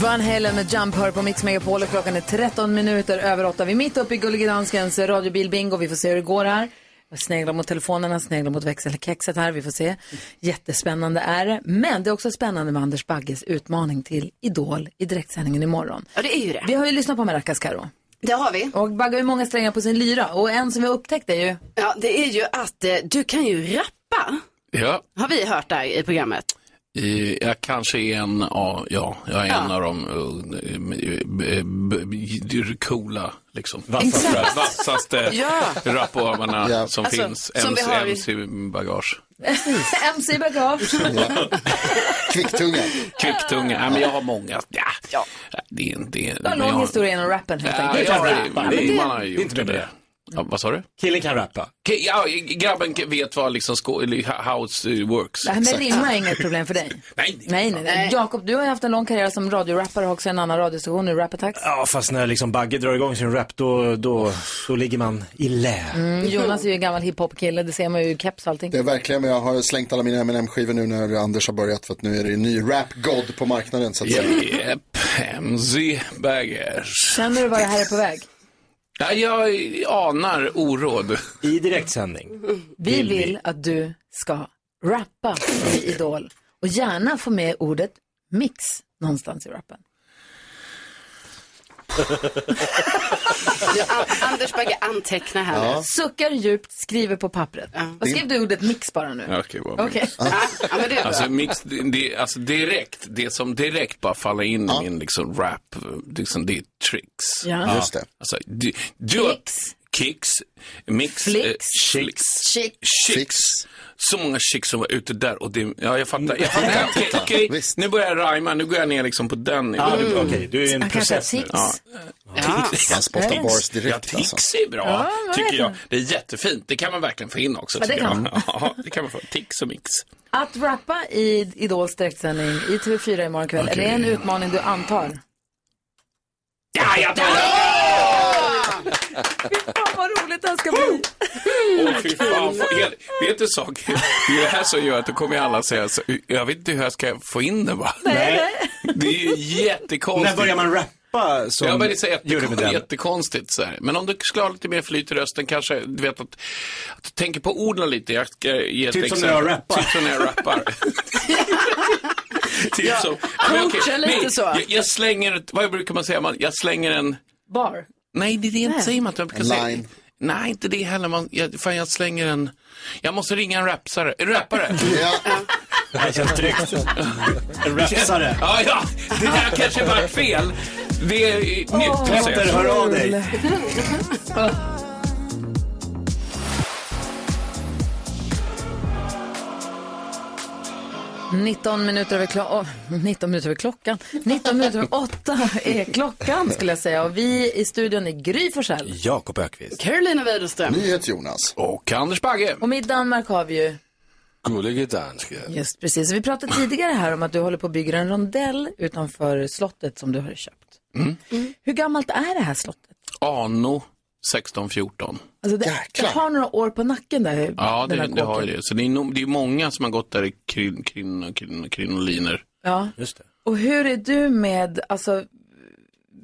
A: Van Halen med Jump hör på Mix Megapol och klockan är 13 minuter över 8. Vi är mitt uppe i Gullige Danskens radiobilbingo. Vi får se hur det går här. Jag sneglar mot telefonerna, sneglar mot växelkexet här. Vi får se. Jättespännande är det. Men det är också spännande med Anders Bagges utmaning till Idol i direktsändningen imorgon.
F: Ja, det är ju det.
A: Vi har ju lyssnat på Maracas Karo.
F: Det har vi.
A: Och Bagge har ju många strängar på sin lyra. Och en som vi upptäckte är ju...
F: Ja, det är ju att eh, du kan ju rappa.
N: Ja,
F: Har vi hört där i programmet.
N: i- jag kanske är en av, ja, jag är en av de eh, eh, b- b- coola, liksom.
F: Exakt.
N: Vassaste, vassaste
F: Ja.
N: raporna
F: Ja.
N: som
F: Alltså,
N: finns.
F: som vi har i-
N: MC-bagage.
A: MC Bagage.
C: Kvicktunga.
N: Kvicktunga. Ja, men jag har många. Ja. Det är inte...
A: Du har en
N: men jag
A: lång
N: har-
A: historia inom rappen helt
N: Ja,
A: enkelt.
N: ja, det-
A: Ja, men
N: det-
A: det-
N: Man har ju gjort det. Ja, vad sa du?
B: Killen kan rappa.
N: Ja, grabben vet vad liksom sko- eller how it works.
A: Det här med rimma är inget problem för dig.
N: Nej,
A: nej, nej, nej. Jakob, du har ju haft en lång karriär som radiorappare och också en annan radiostation nu, Rap Attacks.
B: Ja, fast när liksom Bagge drar igång sin rap, då, då, då ligger man i lä.
A: Mm, Jonas är ju en gammal hiphop-kille, det ser man ju i keps och allting.
C: Det är verkligen, men jag har slängt alla mina mm skivor nu när Anders har börjat för att nu är det en ny rap-god på marknaden så att säga.
N: Japp, MC Baggers.
A: Känner du vad det här är på väg?
N: Ja, jag anar oråd.
B: I direktsändning.
A: Vi vill att du ska rappa i Idol och gärna få med ordet mix någonstans i rappen.
F: A- Anders Bagge antecknar här nu.
A: Suckar djupt, skriver på pappret. Och skrev du ordet mix bara nu?
N: Ja, Okej, vad bra.
A: Okej.
N: Alltså, mix, det, alltså direkt, det som direkt bara faller in i min liksom rap, liksom, det är tricks.
A: Ja. Just det.
N: Alltså, du, du kicks. kicks, mix,
A: Flicks.
N: eh, chicks,
A: Chick.
N: chicks. Så många chicks som var ute där och det, ja jag fattar. Jag fattar. Okej, okej, nu börjar jag rajma, nu går jag ner liksom på den nivån.
B: Ja, du- okej, du är i en Han kanske process har nu. tics.
N: Ja.
B: Ja. Han spottar
N: Tics.
B: bars direkt,
N: Ja, tics
B: alltså.
N: är bra,
B: Ja, vad
N: tycker
B: vet
N: jag.
B: man?
N: Det är jättefint, det kan man verkligen få in också.
A: Ja, det
N: tycker jag.
A: kan man.
N: Ja, det kan man få. Tics och mix.
A: Att rappa i Idols direktsändning i TV4 imorgon kväll,
N: Okej.
A: är det en utmaning du antar?
N: Ja, jag tar
A: Fan vad roligt det här ska bli!
N: Åh, fy fan. Få- hel- Vet du en sak? Det är det här som gör att då kommer alla säga så, jag vet inte hur jag ska få in det va?
B: Nej.
N: Det är ju jättekonstigt.
B: När börjar man rappa som
N: ja, men det är så
B: jurymedlem?
N: jättekonstigt, jättekonstigt så här. Men om du skulle ha lite mer flyt i rösten kanske, du vet att, att du tänker på orden lite. Jag ska ge ett
B: Typ som när
N: exempel.
B: jag rappar.
N: Typ som när jag rappar. typ
F: Ja,
N: som.
F: coacha lite så.
N: Jag, jag slänger, ett- vad brukar man säga, man, jag slänger en
A: Bar.
N: Nej, det är det inte
F: Nej.
N: säger man inte. Man brukar
F: En
N: säga-
F: line.
N: Nej, inte det heller. Man, jag, fan, jag slänger en... Jag måste ringa en rapsare. En rappare.
B: Det här känns tryggt. En rapsare.
N: Ja, ja. Det där kanske vart fel. Det är eh, nytt
B: Åh, Petter, hör av dig.
A: Mm. 19 minuter över, klo- åh, 19 minuter över klockan. 19 minuter över 8 är klockan skulle jag säga. Och vi i studion är Gry Forssell.
B: Jakob Ökvist.
F: Carolina Widerström.
C: Jonas.
N: Och Anders Bagge.
A: Och med Danmark har vi ju
I: Gullige danske.
A: Just precis. Vi pratade tidigare här om att du håller på att bygga en rondell utanför slottet som du har köpt.
N: Mm.
A: Hur gammalt är det här slottet?
N: Ano 16-14.
A: Alltså det, det har några år på nacken där.
N: Ja,
A: den
N: det,
A: här
N: det har
A: kåken.
N: ju det. Så det är, nog- det är många som har gått där i krin, krin, krin, krinoliner.
A: Ja.
B: Just det.
A: Och hur är du med, alltså,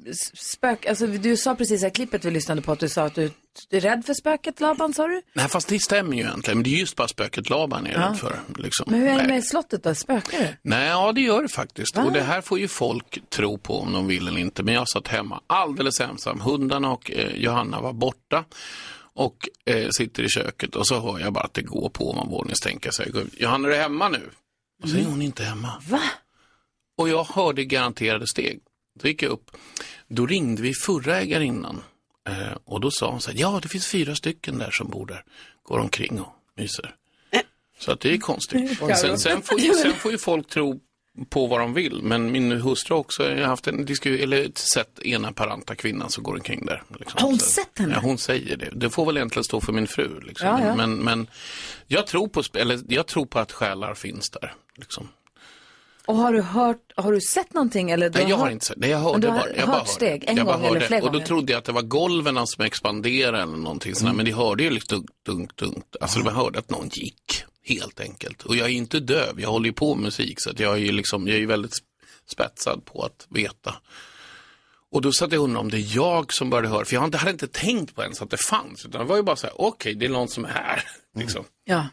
A: s- spök, alltså du sa precis i det här klippet vi lyssnade på att du sa att du du är rädd för spöket Laban, sa du?
N: Nej, fast det stämmer ju egentligen. Men det är just bara spöket Laban jag är
A: Ja.
N: rädd för. Liksom.
A: Men hur är
N: Nej.
A: det med slottet då, spökar det?
N: Nej, ja det gör det faktiskt.
A: Va?
N: Och det här får ju folk tro på om de vill eller inte. Men jag satt hemma alldeles ensam. Hundarna och eh, Johanna var borta och eh, sitter i köket och så hör jag bara att det går på ovanvåningstänka. Så jag går, Johanna är du hemma nu? Och så är hon inte hemma.
A: Mm. Va?
N: Och jag hörde garanterade steg. Då gick jag upp. Då ringde vi förra ägarinnan eh, och då sa hon så här, ja det finns fyra stycken där som bor där. Går omkring och myser. Så att det är konstigt.
I: Oj.
N: Sen, sen, får, ju- sen får ju folk tro på vad de vill, men min hustru har också haft en diskussion, eller sett ena paranta kvinnan som går omkring där. Liksom.
A: Har hon
N: Så-
A: sett henne?
N: Ja, hon säger det. Det får väl egentligen stå för min fru. Liksom.
A: Ja, ja.
N: Men, men jag, tror på, sp- eller, jag tror på att själar finns där. Liksom.
A: Och har du hört, har du sett någonting? Eller du
N: Nej, jag har
A: hört-
N: inte sett det. Jag
A: Men
N: hörde
A: du har
N: bara. Jag
A: hört
N: bara hörde.
A: steg en
N: jag bara
A: gång eller
N: hörde.
A: flera
N: Och då
A: gånger? Mm.
N: trodde jag att det var golven som expanderade eller någonting sådär. Men det hörde ju liksom dunk, dunk, dunk. Alltså man hörde att någon gick, helt enkelt. Och jag är ju inte döv, jag håller ju på med musik. Så att jag är ju liksom, jag är ju väldigt spetsad på att veta. Och då satt jag och undrade om det är jag som började höra. För jag hade inte- hade inte tänkt på ens att det fanns. Utan det var ju bara så här, okej, det är någon som är här. Liksom.
A: Ja.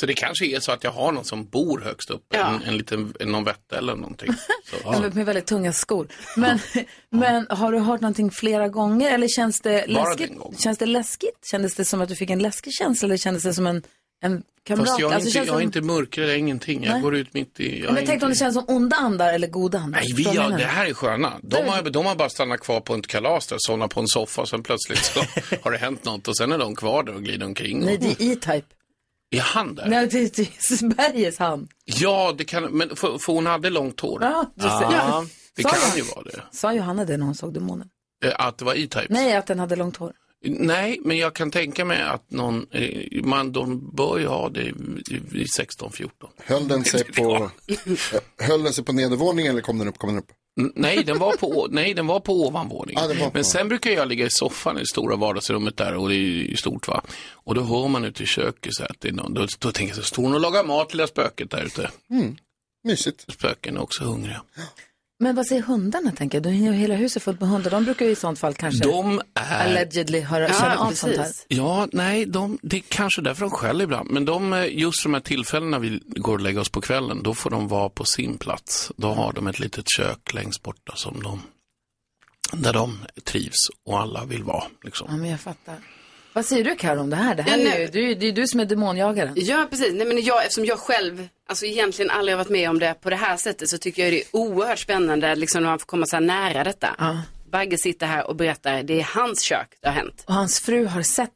N: Så det kanske är så att jag har någon som bor högst upp. En, en liten, någon vätte eller någonting. Så, ja.
A: Med, med väldigt tunga skor. Men, men har du hört någonting flera gånger eller känns det
N: Bara
A: läskigt?
N: den gången.
A: Känns det läskigt? Kändes det som att du fick en läskig känsla eller kändes det som en, en kamrat?
N: Fast jag är,
A: Alltså,
N: inte,
A: känns
N: jag är
A: det-
N: inte mörkrädd, jag är ingenting. Jag
A: Nej.
N: går ut mitt i... Jag
A: Men jag
N: är
A: tänkte om det
N: inte...
A: känns som onda andar eller goda andar.
N: Nej, vi
A: Förstår du vad jag
N: har, det
A: menar?
N: här är sköna. De har, de har bara stannat kvar på ett kalas där, somnat på en soffa och sen plötsligt så har det hänt något och sen är de kvar där och glider omkring.
A: Nej,
N: Och...
A: det är E-Type.
N: Är han där?
A: Nej, det är- det är Sveriges hand.
N: Ja, det kan, men för, för hon hade långt hår. Ah.
A: Ja, du ser. Ja.
N: det
A: Sa
N: kan
A: jag.
N: ju vara det.
A: Sa Johanna det när hon såg demonen?
N: Eh, Att det var E-Type.
A: Nej, att den hade långt hår.
N: Nej, men jag kan tänka mig att någon, eh, man, de bör ju ha det i i 16-14.
C: Höll den sig på, höll den sig på nedervåningen eller kom den upp? Kom den upp?
N: N- Nej, den var på, å- nej, den var på ovanvåningen. Men sen brukar jag ligga i soffan i det stora vardagsrummet där och det är ju stort va. Och då hör man ute i köket så här att det är någon, då, då tänker jag så här, står hon och lagar mat lilla spöket där ute?
C: Mm. Mysigt.
N: Spöken är också hungriga.
A: Men vad säger hundarna tänker jag? Du hinner ju hela huset fullt med hundar. De brukar ju i sånt fall kanske
N: De är-
A: allegedly höra,
N: Ja,
A: känna av sånt här.
N: precis. Ja, nej, de, det är kanske därför de skäller ibland. Men de, eh, just de här tillfällena vi går och lägger oss på kvällen, då får de vara på sin plats. Då har de ett litet kök längst borta som de, där de trivs och alla vill vara. Liksom.
A: Ja, men jag fattar. Vad säger du Karo om det här? Det här
F: Ja,
A: är ju, du, det är du som är demonjagaren.
F: Ja, precis. Nej, men jag, eftersom jag själv, alltså egentligen aldrig har varit med om det på det här sättet så tycker jag det är oerhört spännande liksom, när man får komma så här nära detta. Bagge sitter här och berättar, det är hans kök det har hänt.
A: Och hans fru har sett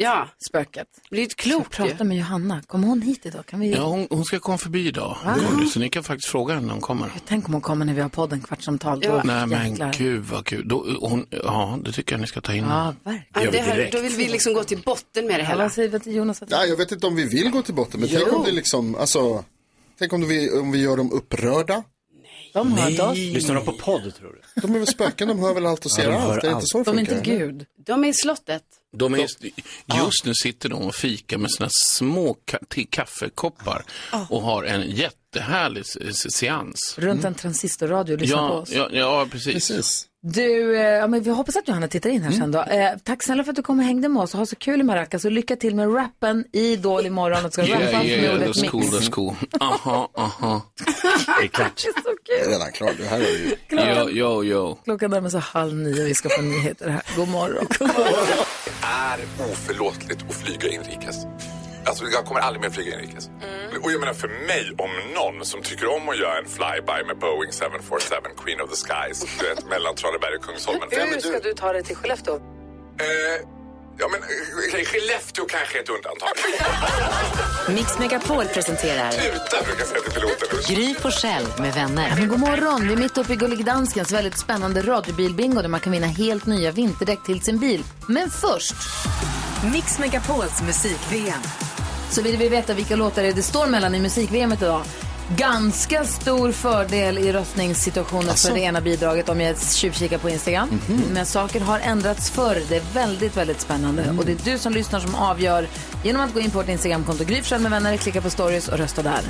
A: spöket.
F: Det är ju klokt
A: Jag pratar med Johanna. Kommer hon hit idag? Kan vi...
N: Ja, hon, hon ska komma förbi idag,
A: Mm. Va?
N: Gurli, så ni kan faktiskt fråga henne när hon kommer.
A: Tänk om hon kommer när vi har podden Kvartsamtal. Då
N: Nej men
A: jäklar.
N: gud vad kul. Då, hon, ja, det tycker jag ni ska ta in.
A: Ja, verkligen.
F: Ja, det här, då vill vi liksom gå till botten med det
A: Ja,
F: hela.
A: vad säger Jonas? Att...
C: Ja, jag vet inte om vi vill gå till botten, men tänk
F: Jo.
C: om det liksom, alltså, tänk om vi, om vi gör dem upprörda.
A: De
F: hör inte oss.
B: Lyssnar de på podd tror du?
C: De är väl spöken, de hör väl allt och
B: Ja,
C: ser
B: de hör
C: allt. Det är inte
B: allt.
C: så det
B: De är
C: funkar.
B: inte
A: Gud.
F: De är i slottet.
N: De är, just nu sitter de och fikar med sina små ka- te- kaffekoppar och har en jättehärlig se- se- seans.
A: Ah.
N: Mm.
A: Runt en transistorradio och lyssna på
N: Ja,
A: oss.
N: ja, ja, precis.
A: Du, eh, ja, men vi hoppas att Johanna tittar in här sen då.
N: Mm.
A: Eh, tack snälla för att du kom och hängde med oss och ha så kul i Maracas och lycka till med rappen i Idol imorgon. Och ska
N: Yeah,
A: rappa
N: yeah, yeah,
A: med ordet
N: that's
A: mix.
N: cool, that's cool. Aha, aha.
B: Det är klart.
C: Det är redan klart, det här är ju...
N: Yo, yo, yo.
A: Klockan närmar sig halv nio vi ska få nyheter här. God morgon.
Q: är oförlåtligt att flyga inrikes. Alltså jag kommer aldrig mer flyga inrikes.
N: Mm.
Q: Och jag menar för mig, om någon som tycker om att göra en flyby med Boeing 747 Queen of the Skies, du vet, mellan Traneberg och Kungsholmen. För jag
N: Mm.
Q: menar,
A: Hur ska du ta dig till Skellefteå?
Q: eh, ja men eh, Skellefteå kanske är ett undantag.
R: Mix Megapol presenterar
Q: Tuta brukar jag säga till piloten.
R: Gry på själv med vänner.
A: Ja, men god morgon! Vi är mitt uppe i Gullig Danskens väldigt spännande radiobilbingo där man kan vinna helt nya vinterdäck till sin bil. Men först...
R: Mix Megapols musik-VM.
A: Så vill vi veta vilka låtar det är det står mellan i musik idag. Ganska stor fördel i röstningssituationen för det ena bidraget om jag tjuvkikar på Instagram. Men saker har ändrats förr. Det är väldigt, väldigt spännande. Och det är du som lyssnar som avgör genom att gå in på vårt Instagramkonto. Gry Forssell med vänner, klicka på stories och rösta där.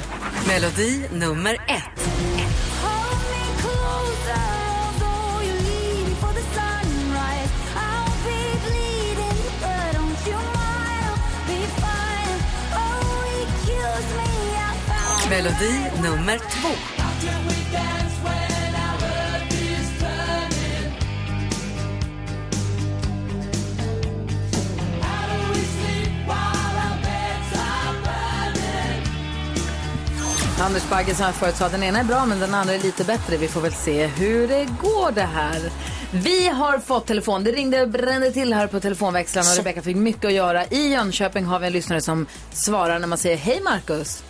R: Melodi nummer ett. Melodi nummer två.
A: Anders Bagge som jag förut sa, den ena är bra men den andra är lite bättre. Vi får väl se hur det går det här. Vi har fått telefon. Det ringde och brände till här på telefonväxlarna och Rebecka fick mycket att göra. I Jönköping har vi en lyssnare som svarar när man säger hej Marcus.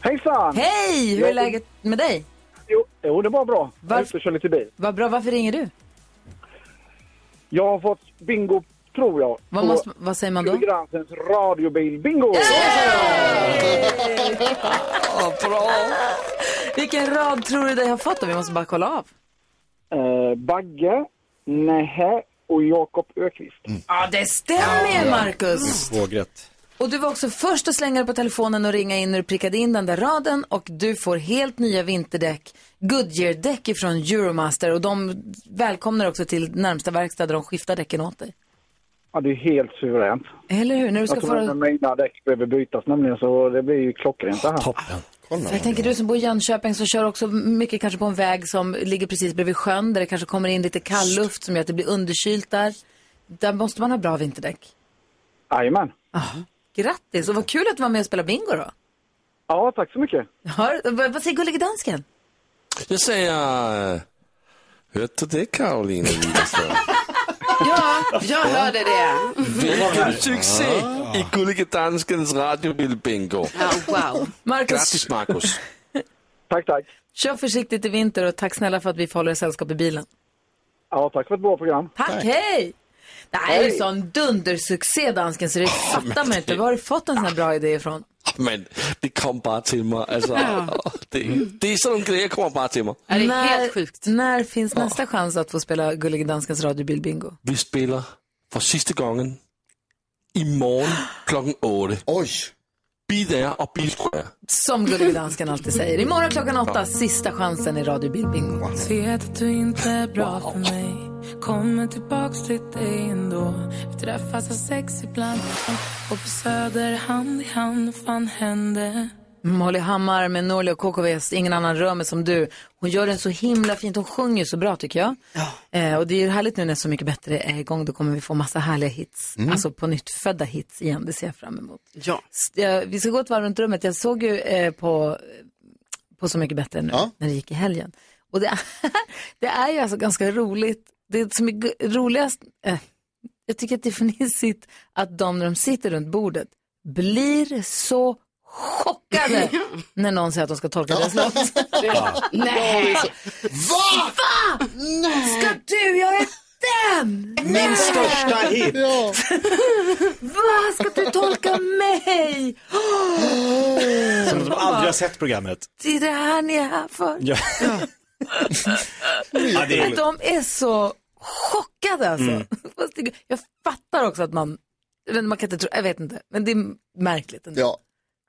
S: Hejsan!
A: Hej! Hur är
S: Jag-
A: läget med dig?
S: Jo, jo det var bra. Jag är
A: Varf-
S: ute och kör lite bil.
A: Vad bra, varför ringer du?
S: Jag har fått bingo, tror jag.
A: Vad,
S: på
A: måste, vad säger man då?
S: Gransens radiobil-bingo!
A: bra! Vilken rad tror du dig har fått då? Vi måste bara kolla av.
S: Eh, Bagge, Nähä och Jakob Ökvist.
A: Ja, det stämmer Marcus.
B: Mm. Vågrätt.
A: Och du var också först att slänga dig på telefonen och ringa in när du prickade in den där raden och du får helt nya vinterdäck, Goodyear-däck ifrån Euromaster och de välkomnar också till närmsta verkstad där de skiftar däcken åt dig.
S: Ja, det är helt suveränt.
A: Eller hur? När du ska
S: jag
A: få-
S: tror även mina däck behöver bytas nämligen så det blir ju klockrent det här.
B: Toppen.
A: För jag tänker du som bor i Jönköping så kör också mycket kanske på en väg som ligger precis bredvid sjön där det kanske kommer in lite kall luft som gör att det blir underkylt där. Där måste man ha bra vinterdäck.
S: Jajamän.
A: Grattis och vad kul att du var med och spelade bingo då.
S: Ja, tack så mycket.
A: Hör, vad vad säger gullige dansken?
I: Jag säger... eh, Hörde du det Caroline Widerström?
F: Ja, jag hörde det.
I: Vilken succé i Gullige Danskens radiobilbingo.
F: wow.
A: Marcus,
I: Grattis Marcus.
S: Tack, tack.
A: kör försiktigt i vinter och tack snälla för att vi får hålla dig sällskap i bilen.
S: Ja, tack för ett bra program.
A: Tack, hej! Det här är ju sån dundersuccé dansken så det fattar man inte. Var har du fått en sån här bra idé ifrån?
I: Men det kom bara till mig. Alltså,
A: Ja.
I: det, det är sådana grejer kommer bara till mig.
A: när, sjukt. När finns nästa chans att få spela Gullige Danskens radiobilbingo?
I: Vi spelar för sista gången imorgon klockan åtta.
C: Oj!
I: Be där och be square.
A: Som Gullige Dansken alltid säger. Imorgon klockan åtta, sista chansen i Radio Bilbingo.
T: Vet att du inte är bra för mig Kommer tillbaks till dig ändå Vi träffas av sex ibland Och på Söder hand i hand Fan hände
A: Molly Hammar med Norli och KKVs Ingen annan rör mig som du. Hon gör den så himla fint, hon sjunger så bra tycker jag. Eh, och det är ju härligt nu när Så mycket bättre är igång, då kommer vi få massa härliga hits.
T: Mm.
A: Alltså på nytt födda hits igen, det ser jag fram emot. Ja. vi ska gå ett varv runt rummet, jag såg ju eh, på, på Så mycket bättre nu, när det gick i helgen. Och det är, det är ju alltså ganska roligt, det som är gu- roligast, eh, jag tycker att det är för nissigt att de när de sitter runt bordet blir så chockade när någon säger att de ska tolka deras låt.
E: Nej.
A: Va? Va? Ska du göra den?
E: Min största hit.
A: Ja. Va? Ska du tolka mig? Åh.
B: Som att de aldrig har sett programmet.
A: Det är det här ni är här för.
B: Ja. Ja, det är-
A: Men de är så chockade alltså.
B: Mm.
A: Fast det- Jag fattar också att man, men man kan inte tro, jag vet inte, men det är märkligt ändå.
C: Ja,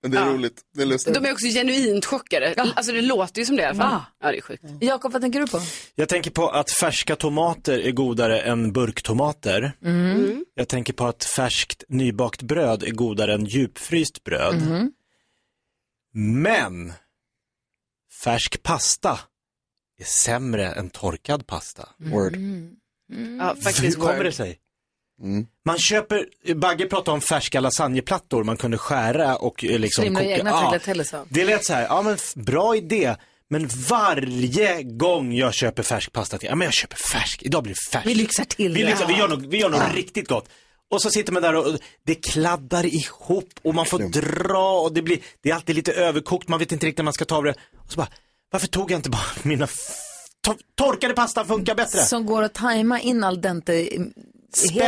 C: men det är
A: alltså, Ja.
C: roligt. Det är lustigt.
F: De är också genuint chockade. Alltså det låter ju som det i alla fall. Ja, det är sjukt.
A: Jakob, vad tänker du på?
B: Jag tänker på att färska tomater är godare än burktomater.
A: Mm.
B: Jag tänker på att färskt nybakt bröd är godare än djupfryst bröd.
F: Mm.
A: Mhm.
B: Men färsk pasta är sämre än torkad pasta. Word.
F: Mm. Ja,
B: Hur
F: faktiskt
B: kommer
F: word. Mm.
B: det sig? Man köper, Bagge pratade om färska lasagneplattor man kunde skära och eh, liksom
A: Slimma
B: koka.
A: egna
B: Ja.
A: tagliatelle sa han.
B: Det lät så här, ja men f- bra idé. Men varje gång jag köper färsk pasta, till, ja men jag köper färsk, idag blir det färsk.
A: Vi lyxar till
B: vi,
A: det.
B: lyxar, vi gör något, vi gör något
A: Ja.
B: riktigt gott. Och så sitter man där och och det kladdar ihop och man får dra och det blir, det är alltid lite överkokt, man vet inte riktigt när man ska ta av det. Och så bara, varför tog jag inte bara mina, f- to- torkade pasta funkar bättre.
A: Som går att tajma in al dente heten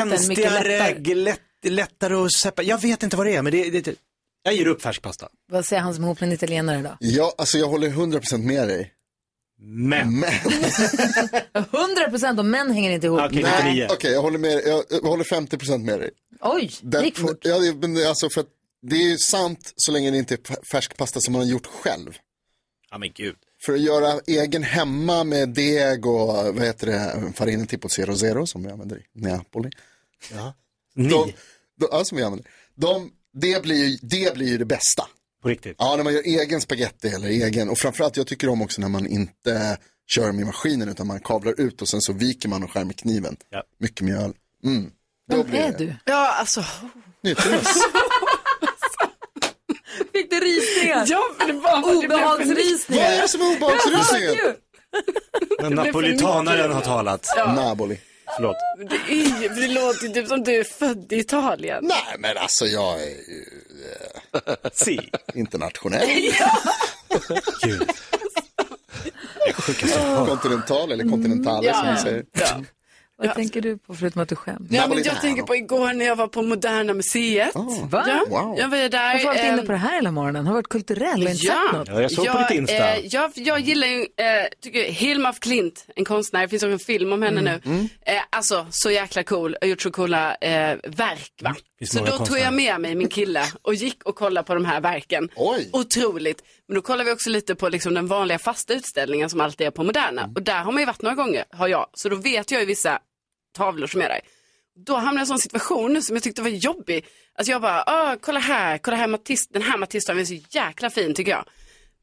A: mycket
B: Spänstigare,
A: lättare.
B: lätt, lättare att seppa, jag vet inte vad det är men det, det jag ger upp färsk pasta.
A: Vad säger han som är ihop med en italienare idag?
C: Ja, alltså jag håller 100% med dig.
B: Men.
A: 100 procent av män hänger inte ihop.
C: Nej, Okej, jag håller med dig. Jag, jag håller 50% med dig.
A: Oj, det gick fort.
C: Ja, det- men det- alltså för att det är ju sant så länge det inte är p- färsk pasta som man har gjort själv.
B: Ja men gud.
C: För att göra egen hemma med deg och vad heter det, farinen tipo zero zero som vi använder i Neapoli.
B: Ja.
C: Ni? De, de, ja, som vi använder. De, det, blir, ju- det blir ju det bästa.
B: På riktigt?
C: Ja, när man gör egen spaghetti eller egen. Och framförallt, jag tycker om också när man inte kör med maskinen utan man kavlar ut och sen så viker man och skär med kniven. Mycket mjöl. Mm. Då blir det.
A: du?
F: Ja, alltså.
C: Nyttigast.
A: Fick du rysningar?
F: Ja, men det var... det blev för
A: Obehagsrysningar.
F: mycket.
C: Vad är det som är obehagsrysningar?
F: Jag hörde ju.
B: Men
F: Det blev för
B: napolitanaren
F: mycket.
B: har talat.
F: Ja.
C: Napoli.
B: Förlåt.
F: Men Det, är, ju- det låter ju typ som du är född i Italien.
C: Nej, men alltså jag är ju... eh, Internationell. Kontinental eller kontinental som
F: Ja,
C: man
F: ja.
C: säger.
U: Vad tänker du på förutom att du skäms?
F: Ja, alltså- men jag tänker på igår när jag var på Moderna Museet.
U: Va?
F: Ja, Jag var ju där.
U: Varför har du varit inne
F: ehm,
U: på det här hela morgonen? Har du varit kulturell och inte sett något?
F: eh, jag, jag gillar ju, eh, tycker Hilma af Klint, en konstnär, det finns också en film om henne
S: Mm.
B: Mm.
F: nu. Eh, alltså, så jäkla cool, har gjort så coola eh, verk. Va?
Q: finns
F: Så
Q: Mm. många
F: då tog
Q: konstnärer.
F: jag med mig min kille och gick och kollade på de här verken. Oj. Otroligt. Men då kollade vi också lite på liksom, den vanliga fasta utställningen som alltid är på Moderna. Och där har man ju varit några gånger, har jag. Så då vet jag ju vissa tavlor som är där. Då hamnade jag i en sån situation som jag tyckte var jobbig. Alltså jag bara, ah, kolla här, kolla här Matisse, den här Matisse-tavlan är så jäkla fin tycker jag.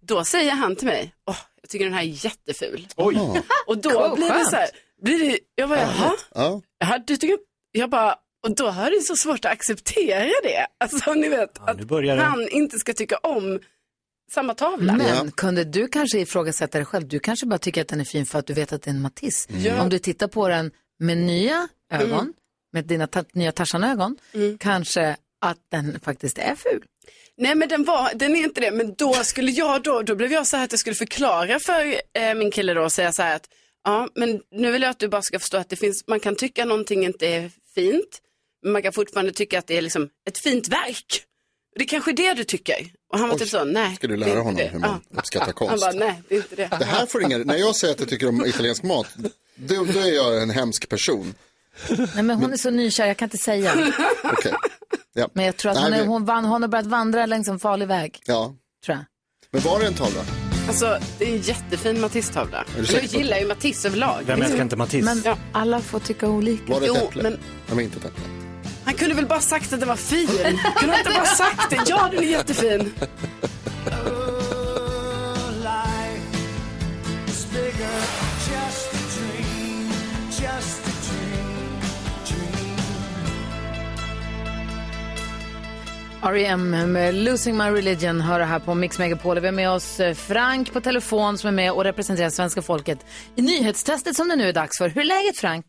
F: Då säger han till mig, åh, jag tycker den här är jätteful.
C: Oj.
F: Och då
Q: Cool,
F: blir det
Q: skönt.
F: så här, blir det, jag bara, jaha,
C: Ja.
F: jaha, du tycker, jag bara, och då har det så svårt att acceptera det. Alltså ni vet,
B: Nu börjar
F: att
B: det.
F: han inte ska tycka om samma tavla.
A: Men kunde du kanske ifrågasätta dig själv? Du kanske bara tycker att den är fin för att du vet att det är en Matisse.
B: Mm.
F: Ja.
A: Om du tittar på den med nya ögon,
F: Mm.
A: med dina ta- nya Tarzan-ögon, kanske att den faktiskt är ful.
F: Nej men den, var, den är inte det, men då skulle jag då, då blev jag så här att jag skulle förklara för eh, min kille då och säga så här att ja men nu vill jag att du bara ska förstå att det finns, man kan tycka någonting inte är fint, men man kan fortfarande tycka att det är liksom ett fint verk. Det är kanske är det du tycker. Och han var typ så, nej.
C: Ska du
F: det
C: lära
F: är inte
C: honom
F: det.
C: hur man
F: Ja.
C: uppskattar
F: Han
C: konst?
F: bara, nej det är inte det.
C: Det här får ingen, när jag säger att jag tycker om italiensk mat, då, då är jag en hemsk person.
A: Nej, men hon är så nykär, jag kan inte säga.
C: Okej. Ja.
A: Men jag tror att
C: Nej,
A: hon, är,
C: vi-
A: hon, vann, hon har börjat vandra längs en farlig väg,
C: Ja.
A: tror jag.
C: Men var det en tavla?
F: Alltså det är en jättefin Matisse-tavla.
C: du
F: Men Jag
C: säker på-
F: gillar ju Matisse överlag.
C: Vem älskar inte Matisse? Men
A: alla får tycka olika.
C: Var det ett
F: jo,
C: äpple?
F: men
C: Nej, men inte ett äpple.
F: han kunde väl bara sagt att den var fin. kunde han inte bara sagt det? Ja, den är jättefin.
A: R.E.M. E med Losing My Religion hör det här på Mix Megapol. Vi har med oss eh, Frank på telefon som är med och representerar svenska folket i nyhetstestet som det nu är dags för. Hur är läget Frank?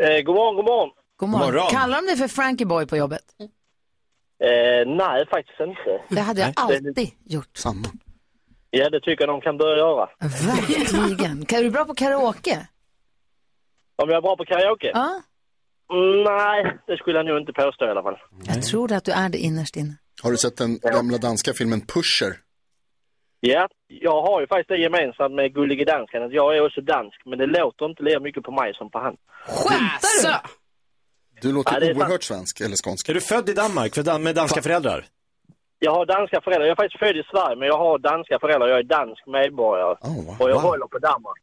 S: Eh, god morgon, god morgon.
A: God morgon. Mm. Kallar de dig för Frankie Boy på jobbet?
S: Eh, nej, faktiskt inte.
A: Det hade jag alltid gjort.
C: Samma.
S: Ja, det tycker jag de kan börja göra.
A: Verkligen. Kan- Är du bra på karaoke?
S: Om jag är bra på karaoke?
A: Ja.
S: Mm, nej, det skulle jag nog inte påstå i alla fall.
A: Jag tror det att du är det innerst inne.
C: Har du sett den gamla danska filmen Pusher?
S: Ja, jag har ju faktiskt det gemensamt med Gullige Dansken att jag är också dansk, men det låter inte lika mycket på mig som på han.
C: Du låter
S: Ja, det är sant.
C: oerhört svensk eller skånsk.
B: Är du född i Danmark för dan- med danska föräldrar?
S: Jag har danska föräldrar. Jag är faktiskt född i Sverige, men jag har danska föräldrar. Jag är dansk medborgare.
I: Oh,
S: och jag håller på Danmark.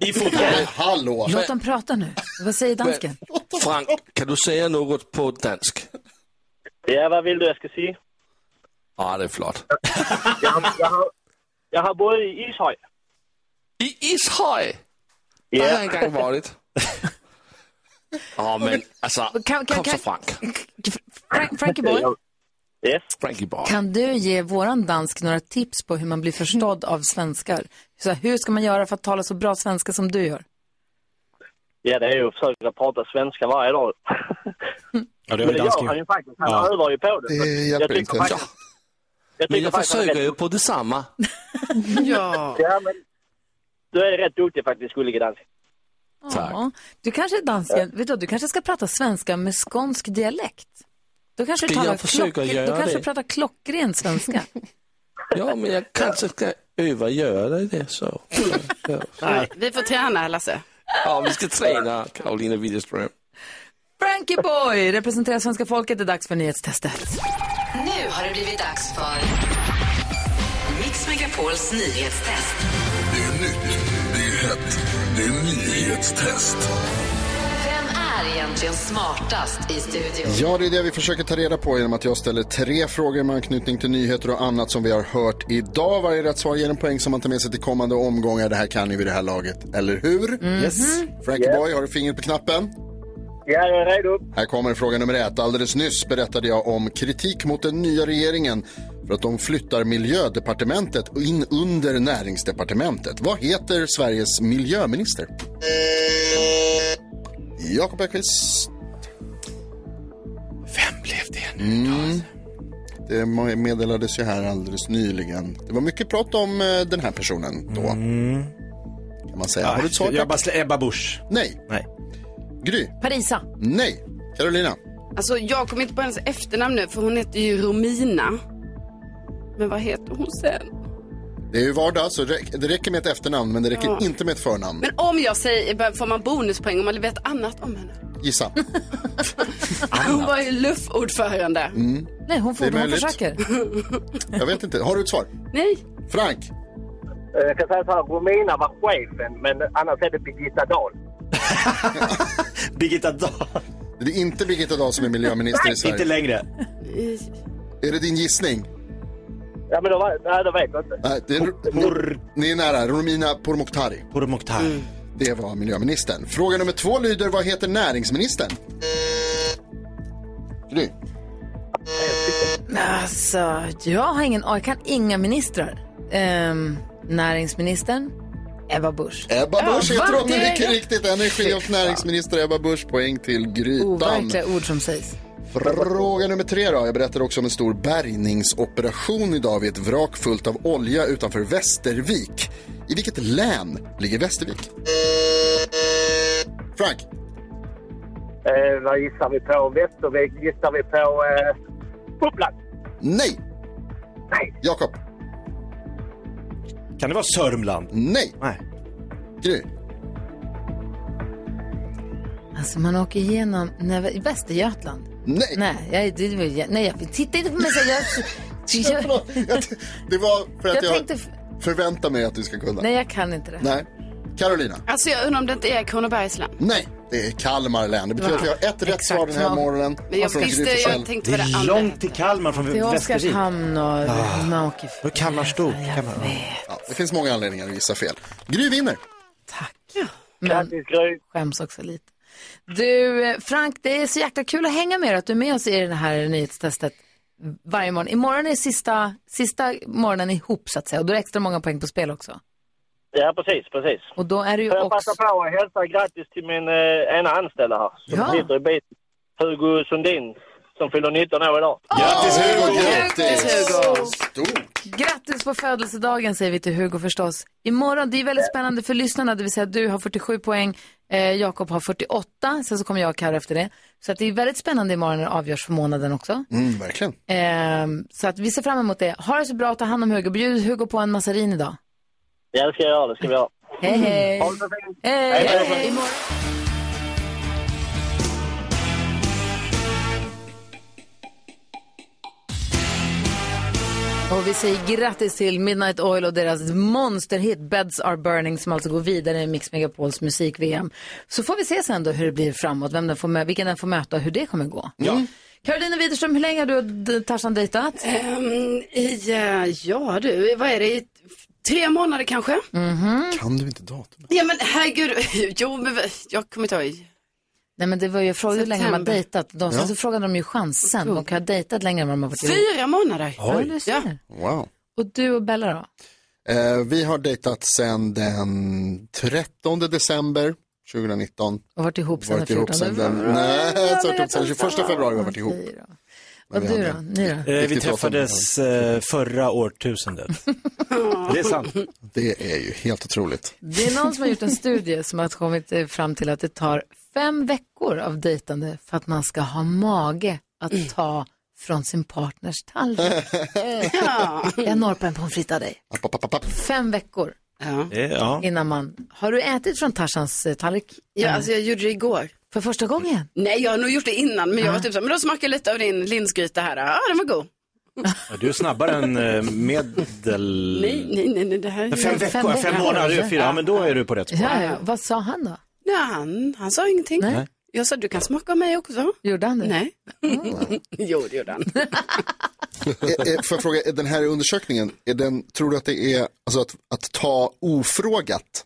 B: I fotboll?
C: Hallå!
A: Låt dem prata nu. Vad säger dansken?
I: Frank, kan du säga något på dansk?
S: Ja, vad vill du jag ska säga?
I: Ja, Ah, det är flott.
S: Jag har, jag har, jag har bott i Ishöj.
I: I Ishöj?
S: Ja.
I: Det har en gång varit. Ja, men alltså,
A: Kan- kan-
I: kom så
A: kan-
I: Frank.
A: Frank, Frankie Boy?
S: Yes.
I: Frankie Boy.
A: Kan du ge våran dansk några tips på hur man blir förstådd av svenskar? Så här, hur ska man göra för att tala så bra svenska som du gör?
S: Ja, det är ju att försöka prata svenska varje dag.
B: Ja,
I: det
S: men
I: är
S: det
I: dansk
S: gör
I: ju.
S: han ju faktiskt. Han
I: Ja.
S: övar ju på det.
I: Det
S: Så
I: hjälper
S: tycker
I: inte.
S: Faktiskt, jag
I: Men
S: tycker
I: jag
S: faktiskt han är
I: försöker
S: rätt
I: ju på detsamma.
F: Ja.
S: ja men, du är rätt duktig faktiskt, Gullige Dansken.
A: Ja. Du kanske är dansken, vet du, du kanske ska prata svenska med skånsk dialekt. Då kanske du
I: Ska jag
A: talar
I: försöka
A: klock-
I: göra
A: då kanske du
I: det?
A: pratar klockren svenska.
I: Ja, men jag kanske ska öva göra det så. Ja.
F: Vi får träna, Lasse.
I: Ja, vi ska träna Karolina Widerström.
A: Frankie Boy representerar svenska folket. Det är dags för nyhetstestet.
E: Nu har det blivit dags för Mix Megapols nyhetstest.
Q: Det är nytt, det är hett, det är nyhetstest.
E: Vem är egentligen smartast i studion?
C: Ja, det är det vi försöker ta reda på genom att jag ställer tre frågor med anknytning till nyheter och annat som vi har hört idag. Varje rätt svar ger en poäng som man tar med sig till kommande omgångar. Det här kan ni vid det här laget, eller hur?
B: Yes.
C: Frankie Boy, har du fingret på knappen?
S: Ja, jag är redo.
C: Här kommer fråga nummer ett. Alldeles nyss berättade jag om kritik mot den nya regeringen för att de flyttar miljödepartementet in under näringsdepartementet. Vad heter Sveriges miljöminister? Jakob Ekqvist. Vem blev det nu mm. Det meddelades ju här alldeles nyligen. Det var mycket prat om eh, den Mm. här personen då. Kan man säga. Har du ett svar?
B: Jag bara slä- Ebba Busch.
C: Nej.
B: Nej.
C: Gry.
H: Parisa.
C: Nej. Carolina.
F: Alltså jag kommer inte på hennes efternamn nu för hon heter ju Romina. Men vad heter hon sen?
C: Mm. Det är ju vardag, så räck- det räcker med ett efternamn, men det räcker
F: Ja.
C: inte med ett förnamn.
F: Men om jag säger, får man bonuspoäng om man vet annat om henne?
C: Gissa.
F: Hon var ju luffordförande.
C: Mm.
H: Nej, hon
C: får- Det är hon möjligt. försöker. Jag vet inte. Har du ett svar?
F: Nej.
C: Frank.
S: Eh, Jag kan säga så här, Romina var chefen, men annars är det Birgitta Dahl.
C: Birgitta Dahl. Det är inte Birgitta Dahl som är miljöminister i Sverige.
B: Inte längre.
C: Är det din gissning?
S: Ja, men då, var- nej, då vet jag inte.
C: Nej, det är, Ni är nära. Romina Pourmokhtari.
B: Pourmokhtari.
F: Mm.
C: Det var miljöministern. Fråga nummer två lyder, vad heter näringsministern? Gry.
A: Alltså, jag har ingen Jag kan inga ministrar. Ehm, näringsministern, Ebba Busch.
C: Ebba Busch heter
A: va?
C: hon, det
A: Det
C: mycket
A: är-
C: riktigt. Energi och näringsminister Ebba Busch, poäng till grytan.
A: Overkliga ord som sägs.
C: Fråga nummer tre då. Jag berättar också om en stor bärgningsoperation idag vid ett vrak fullt av olja utanför Västervik. I vilket län ligger Västervik? Frank.
S: Eh, vad gissar vi på? Västervik? Gissar vi på eh, Uppland?
C: Nej. Nej. Jakob.
B: Kan det vara Sörmland?
C: Nej.
B: Nej.
C: Gry.
A: Alltså man åker igenom nej, Västergötland.
C: Nej.
A: Nej, jag, det, var- jag, nej, jag, titta inte på mig så jag, jag,
C: Förlåt, jag, det var för att
A: Jag
C: jag,
A: tänkte f-
C: förväntar mig att du ska kunna.
F: Nej, jag kan inte det.
C: Nej. Carolina.
F: Alltså jag undrar om det inte är Kronobergs län.
C: Nej, det är Kalmar län. Det betyder
F: Ja.
C: att vi har ett rätt
F: Exakt.
C: svar den här
F: Ja.
C: morgonen. Alltså,
F: Men jag
C: Från Gry
F: visste, jag
C: Forssell.
F: tänkte vad Det är det andra långt
B: till Kalmar från
A: Det är Oskarshamn och
C: Ah.
A: man åker f-
B: Då Kalmar stort.
C: Ja, det finns många anledningar att gissa fel. Gry vinner.
A: Men skäms också lite. Du, eh, Frank, det är så jäkla kul att hänga med dig, att du är med oss i det här nyhetstestet varje morgon. Imorgon är sista, sista morgonen ihop, så att säga, och då är det extra många poäng på spel också.
S: Ja, precis, precis.
A: Och då är det ju
S: Får jag
A: också...
S: passa på att hälsa grattis till min eh, ena anställda här som
A: Ja.
S: sitter i biten, Hugo Sundin, som fyller 19 år idag.
C: Grattis Hugo!
A: Grattis, Hugo!
C: Stort!
A: Grattis på födelsedagen säger vi till Hugo förstås. Imorgon, det är väldigt spännande för lyssnarna, det vill säga du har 47 poäng, eh, Jakob har 48, sen så kommer jag och Karo efter det. Så att det är väldigt spännande imorgon när det avgörs för månaden också.
C: Mm, verkligen.
A: Ehm, så att vi ser fram emot det. Ha det så bra, ta hand om Hugo, bjud Hugo på en massarin idag.
S: Ja, det ska jag göra. Det ska vi göra.
A: Hej hej!
S: Ha det så fint.
A: Hej,
S: Hej,
A: hej.
S: hej.
A: Imorgon- Och vi säger grattis till Midnight Oil och deras monsterhit Beds Are Burning som alltså går vidare i Mix Megapols musik-VM. Så får vi se sen då hur det blir framåt, vem den får mö- vilken den får möta och hur det kommer gå.
F: Mm.
C: Ja.
A: Karolina Widerström, hur länge har du och D- Tarzan dejtat?
F: Ehm, I, eh, ja du, vad är det, i tre månader kanske?
A: Mhm.
C: Kan du inte datum?
F: Ja men herregud, jo men v- jag kommer inte ihåg.
A: Nej men det var ju frågan hur länge man
F: September.
A: dejtat. De,
F: Ja.
A: Sen så frågade de ju chansen. De kan ha dejtat längre än vad de har varit ihop.
F: Fyra månader.
A: Ja, du ser.
C: Wow.
A: Och du och Bella då?
C: Eh, vi har dejtat sedan den 13 december 2019.
A: Och varit ihop sedan
C: Varit
A: den
C: ihop sedan
A: 14.
C: den, nej, så varit ihop sedan 21 februari har vi varit ihop.
A: Och du då? Ni då?
B: Eh, vi
C: Riktigt
B: träffades eh, förra årtusendet. det är sant.
C: Det är ju helt otroligt.
A: Det är någon som har gjort en studie som har kommit eh, fram till att det tar fem veckor av dejtande för att man ska ha mage att ta från sin partners tallrik. Jag norpar en pommes frites av dig. Fem veckor
B: Eh, ja.
A: innan man... Har du ätit från Tarzans eh, tallrik?
F: Ja, alltså jag gjorde det igår.
A: För första gången?
F: Nej, jag har nog gjort det innan, men jag var typ så här, men då smakar jag lite av din linsgryta här. Ja, den var god.
B: Ja, Du är snabbare än eh, medel...
F: Nej, nej, nej, nej det här är ju-
B: Mm. Fem veckor, fem månader, det är fyra. Ja, men då är du på rätt spår.
A: Ja, ja. Vad sa han då?
F: Nej, han, han sa ingenting.
B: Nej.
F: Jag sa, du kan smaka av mig också.
A: Gjorde han det? Oh.
F: Nej. jo, det gjorde han.
C: Eh, eh, Får jag fråga, är den här undersökningen, är den, tror du att det är alltså att, att ta ofrågat?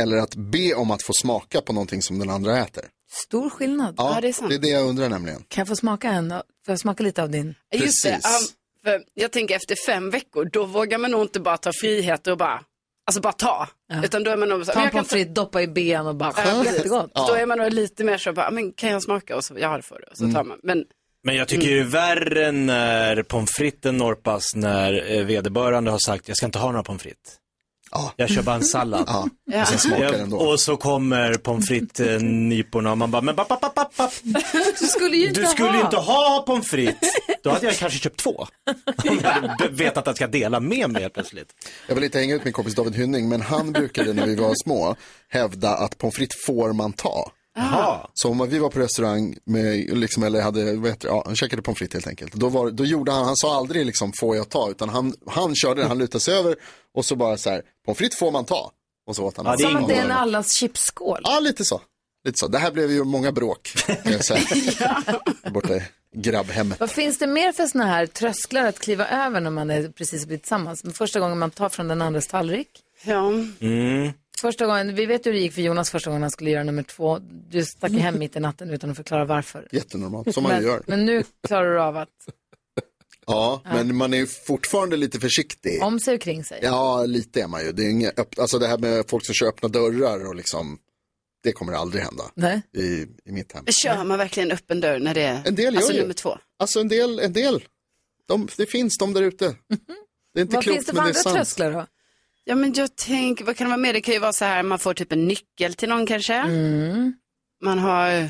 C: Eller att be om att få smaka på någonting som den andra äter?
A: Stor skillnad.
C: det är det jag undrar nämligen.
A: Kan jag få smaka en? Får jag smaka lite av din?
F: Just det, um, för jag tänker efter fem veckor, då vågar man nog inte bara ta friheter och bara, alltså bara ta. Utan då är man nog så här,
A: Ta
F: men
A: en
F: jag kan
A: pommes frites, doppa i ben och bara,
F: Ja, precis.
A: jättegott.
F: Då är man nog lite mer så bara, "Ah, men kan jag smaka? Och så, ja det får du. Och så tar man. Men
B: Men jag
C: Mm.
B: tycker det är värre när pommes fritesen norpas när eh, vederbörande har sagt jag ska inte ha några pommes frites. Jag kör bara en sallad.
C: Ja. och sen smakar
B: Jag-
C: den då.
B: Och så kommer pommes frites-nyporna och man bara, men papp, papp, papp, papp.
A: Du skulle ju inte
B: du skulle
A: ha.
B: inte ha pommes frites. Då hade jag kanske köpt två. Om jag hade vetat att jag ska dela med mig helt plötsligt.
C: Jag vill inte hänga ut min kompis David Hynning, men han brukade när vi var små hävda att pommes frites får man ta.
B: Jaha.
C: Så om vi var på restaurang, med, liksom, eller hade, vad heter det, ja, han käkade pommes frites helt enkelt. Då, var, då gjorde han, han sa aldrig liksom får jag ta, utan han, han körde den, han lutade sig över och så bara så här, pommes frites får man ta. Och så åt han.
H: Som att det är en allas chipsskål.
C: Ja, lite så. Lite så. Det här blev ju många bråk, kan jag säga. Borta i grabbhemmet.
A: Vad finns det mer för såna här trösklar att kliva över när man är precis blivit tillsammans? Första gången man tar från den andres tallrik.
F: Ja.
B: Mm.
A: Första gången, vi vet hur det gick för Jonas första gången han skulle göra nummer två. Du stack ju hem mitt i natten utan att förklara varför.
C: Jättenormalt, som man
A: men,
C: ju gör.
A: Men nu klarar du av att
C: Ja, men man är ju fortfarande lite försiktig.
A: om sig och kring sig.
C: Ja, lite är man ju. Det, är inga öpp- alltså det här med folk som kör öppna dörrar och liksom, det kommer aldrig hända
A: Nej.
C: i, i mitt hem.
F: Kör man verkligen öppen dörr när det är
C: En del gör
F: alltså,
C: ju.
F: nummer två?
C: Alltså en del, en del. De, det finns de där ute. Det är inte
F: Mhm. Vad
C: klokt,
F: finns det för
C: men det är
F: andra
C: sant.
F: trösklar
A: då?
F: Ja men jag tänker, vad kan det vara mer? Det kan ju vara så här, man får typ en nyckel till någon kanske. Man har...
A: Mm.
F: Mm.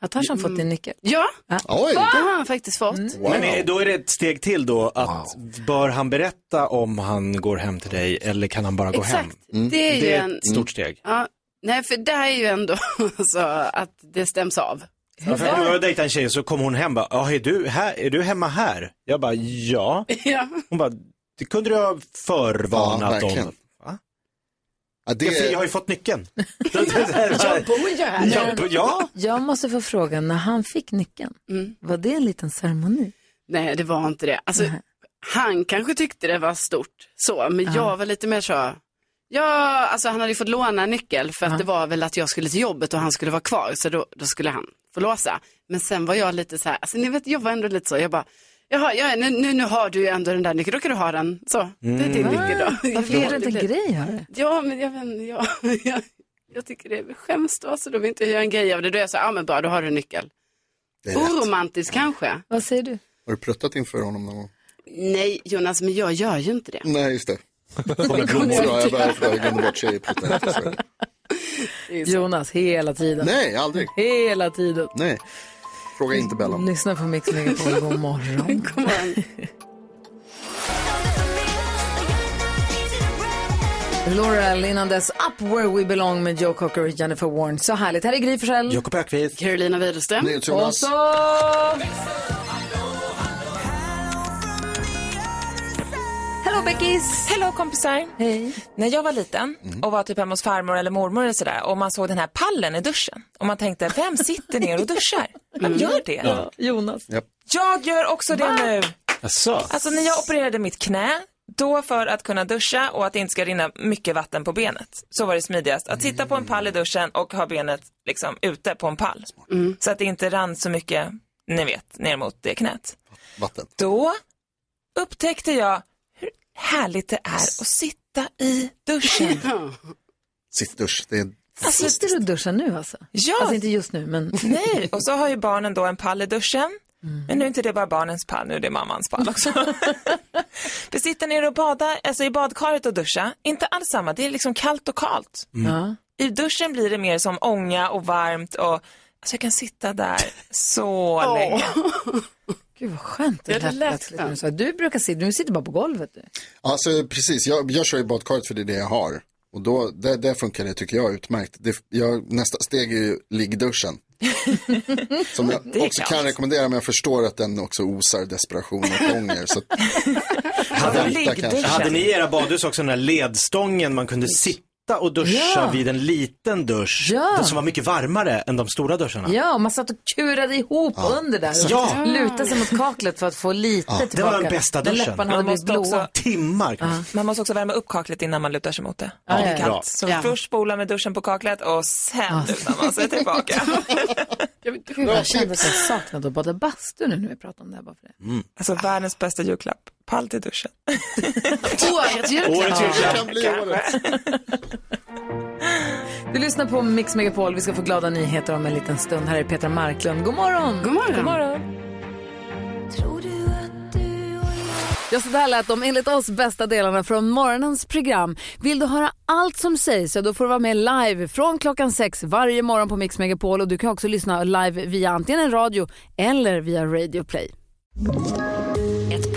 A: Har Tarzan fått Mm. din nyckel?
F: Ja,
C: Oj.
F: det har han faktiskt fått.
B: Men är- då är det ett steg till då att bör han berätta om han går hem till dig eller kan han bara gå hem?
F: Exakt. Det är ju
B: det är
F: en-
B: ett stort steg.
F: Ja, nej, för det här är ju ändå så att det stäms av.
B: Ja, för när jag dejtade en tjej så kom hon hem och bara, "Ja, är du, här, är du hemma här? Jag bara, ja.
F: Ja.
B: Hon bara, det kunde du ha förvarnat
C: Ja, verkligen.
B: om. Va?
C: Ja,
B: det...
C: det-
B: jag, jag har ju fått nyckeln.
A: Jag bor ju här.
B: Ja, b- ja.
A: Jag måste få fråga, när han fick nyckeln,
F: Mm.
A: var det en liten ceremoni?
F: Nej, det var inte det. Alltså, han kanske tyckte det var stort så, men
A: Ja.
F: jag var lite mer så, ja, alltså han hade ju fått låna en nyckel för att det var väl att jag skulle till jobbet och han skulle vara kvar, så då, då skulle han få låsa. Men sen var jag lite så här, alltså ni vet, jag var ändå lite så, jag bara, jaha, ja, nu, nu, nu har du ju ändå den där nyckeln, då kan du ha den, så, det är din
A: Mm.
F: nyckel då.
A: Varför är det inte en grej här?
F: Ja, men jag, vet, inte, jag, jag, jag tycker det är skäms då, så då vill inte jag göra en grej av det. Då är jag så här, ja men bra, då har du en nyckel.
C: Det är rätt.
F: Oromantiskt kanske.
A: Vad säger du?
C: Har du pruttat inför honom någon gång?
F: Nej, Jonas, men jag gör ju inte det.
C: Nej, just det. Kommer blommor. Ja, jag bara- jag glömde bort tjejer pruttar inte. så är det.
A: Jonas, hela tiden.
C: Nej, aldrig.
A: Hela tiden.
C: Nej, fråga inte Bella.
A: Lyssna på Mix Megapol, god morgon. Laurel, innan dess Up Where We Belong med Joe Cocker och Jennifer Warren. Så härligt. Här är Gry Forssell.
B: Jakob Ökvist.
F: Carolina Widerström.
A: Och så... Hello Beckis!
V: Hello kompisar!
A: Hej! Mm.
V: När jag var liten och var typ hemma hos farmor eller mormor eller sådär och man såg den här pallen i duschen och man tänkte, vem sitter ner och duschar? Vem gör det?
B: Ja.
A: Mm. Jonas.
V: Jag gör också det nu!
B: Jaså?
V: Alltså när jag opererade mitt knä, då för att kunna duscha och att det inte ska rinna mycket vatten på benet, så var det smidigast att sitta på en pall i duschen och ha benet liksom ute på en pall. Så att det inte rann så mycket, ni vet, ner mot det knät.
C: Vatten.
V: Då upptäckte jag hur härligt det är att sitta i duschen.
C: Sitt dusch, det är
A: Alltså, Sitter du och duschar nu alltså?
V: Ja.
A: Alltså inte just nu, men... Mm.
V: Nej, och så har ju barnen då en pall i duschen. Men nu är inte det bara barnens pall, nu är det mammans pall också. Vi sitter ner och badar, alltså i badkaret och duscha. Inte alls samma, det är liksom kallt och kalt.
A: Ja.
V: I duschen blir det mer som ånga och varmt och alltså jag kan sitta där så länge.
A: Gud vad skönt det,
V: Ja, det
A: lät
V: lät
A: plötsligt när du sa. Du brukar sitta, du sitter bara på golvet du.
C: Alltså precis, jag, jag kör ju badkaret för det är det jag har. Och då, där, där funkar det tycker jag utmärkt. Det, jag, nästa steg är ju liggduschen. Som jag
V: är
C: också kan
V: kallt.
C: rekommendera, men jag förstår att den också osar desperation och ånger. Så att,
B: Hade,
C: Vänta kanske.
B: ni- hade ni i era badhus också den här ledstången man kunde sitta och duscha
A: Ja.
B: vid en liten dusch
A: Ja.
B: som var mycket varmare än de stora duscharna?
A: Ja, och man satt och kurade ihop
B: Ja.
A: under där. Och
B: Ja.
A: Lutade sig mot kaklet för att få lite
B: Ja, det var
A: tillbaka.
B: den bästa
A: Där
B: duschen.
A: Läpparna
B: Man
A: hade blivit
V: måste
A: blåa.
V: också-
B: Timmar.
V: Man måste också värma upp kaklet innan man lutar sig mot det.
A: Ja,
V: Om det
A: ja,
V: är
A: ja. Bra.
V: kallt. Så
A: Ja.
V: först spola med duschen på kaklet och sen lutar man sig tillbaka.
A: Gud, jag kände att jag saknade att bada bastu nu när vi pratar om det här. Bara för det.
V: Alltså världens bästa julklapp, pall till duschen.
A: Årets julklapp. Årets julklapp. Kan bli årets. Du lyssnar på Mix Megapol. Vi ska få glada nyheter om en liten stund. Här är Petra Marklund. God morgon!
F: God morgon.
A: God morgon. Ja, så där lät de enligt oss bästa delarna från morgonens program. Vill du höra allt som sägs så då får du vara med live från klockan sex varje morgon på Mix Megapol och du kan också lyssna live via antingen en radio eller via Radio Play.
O: Ett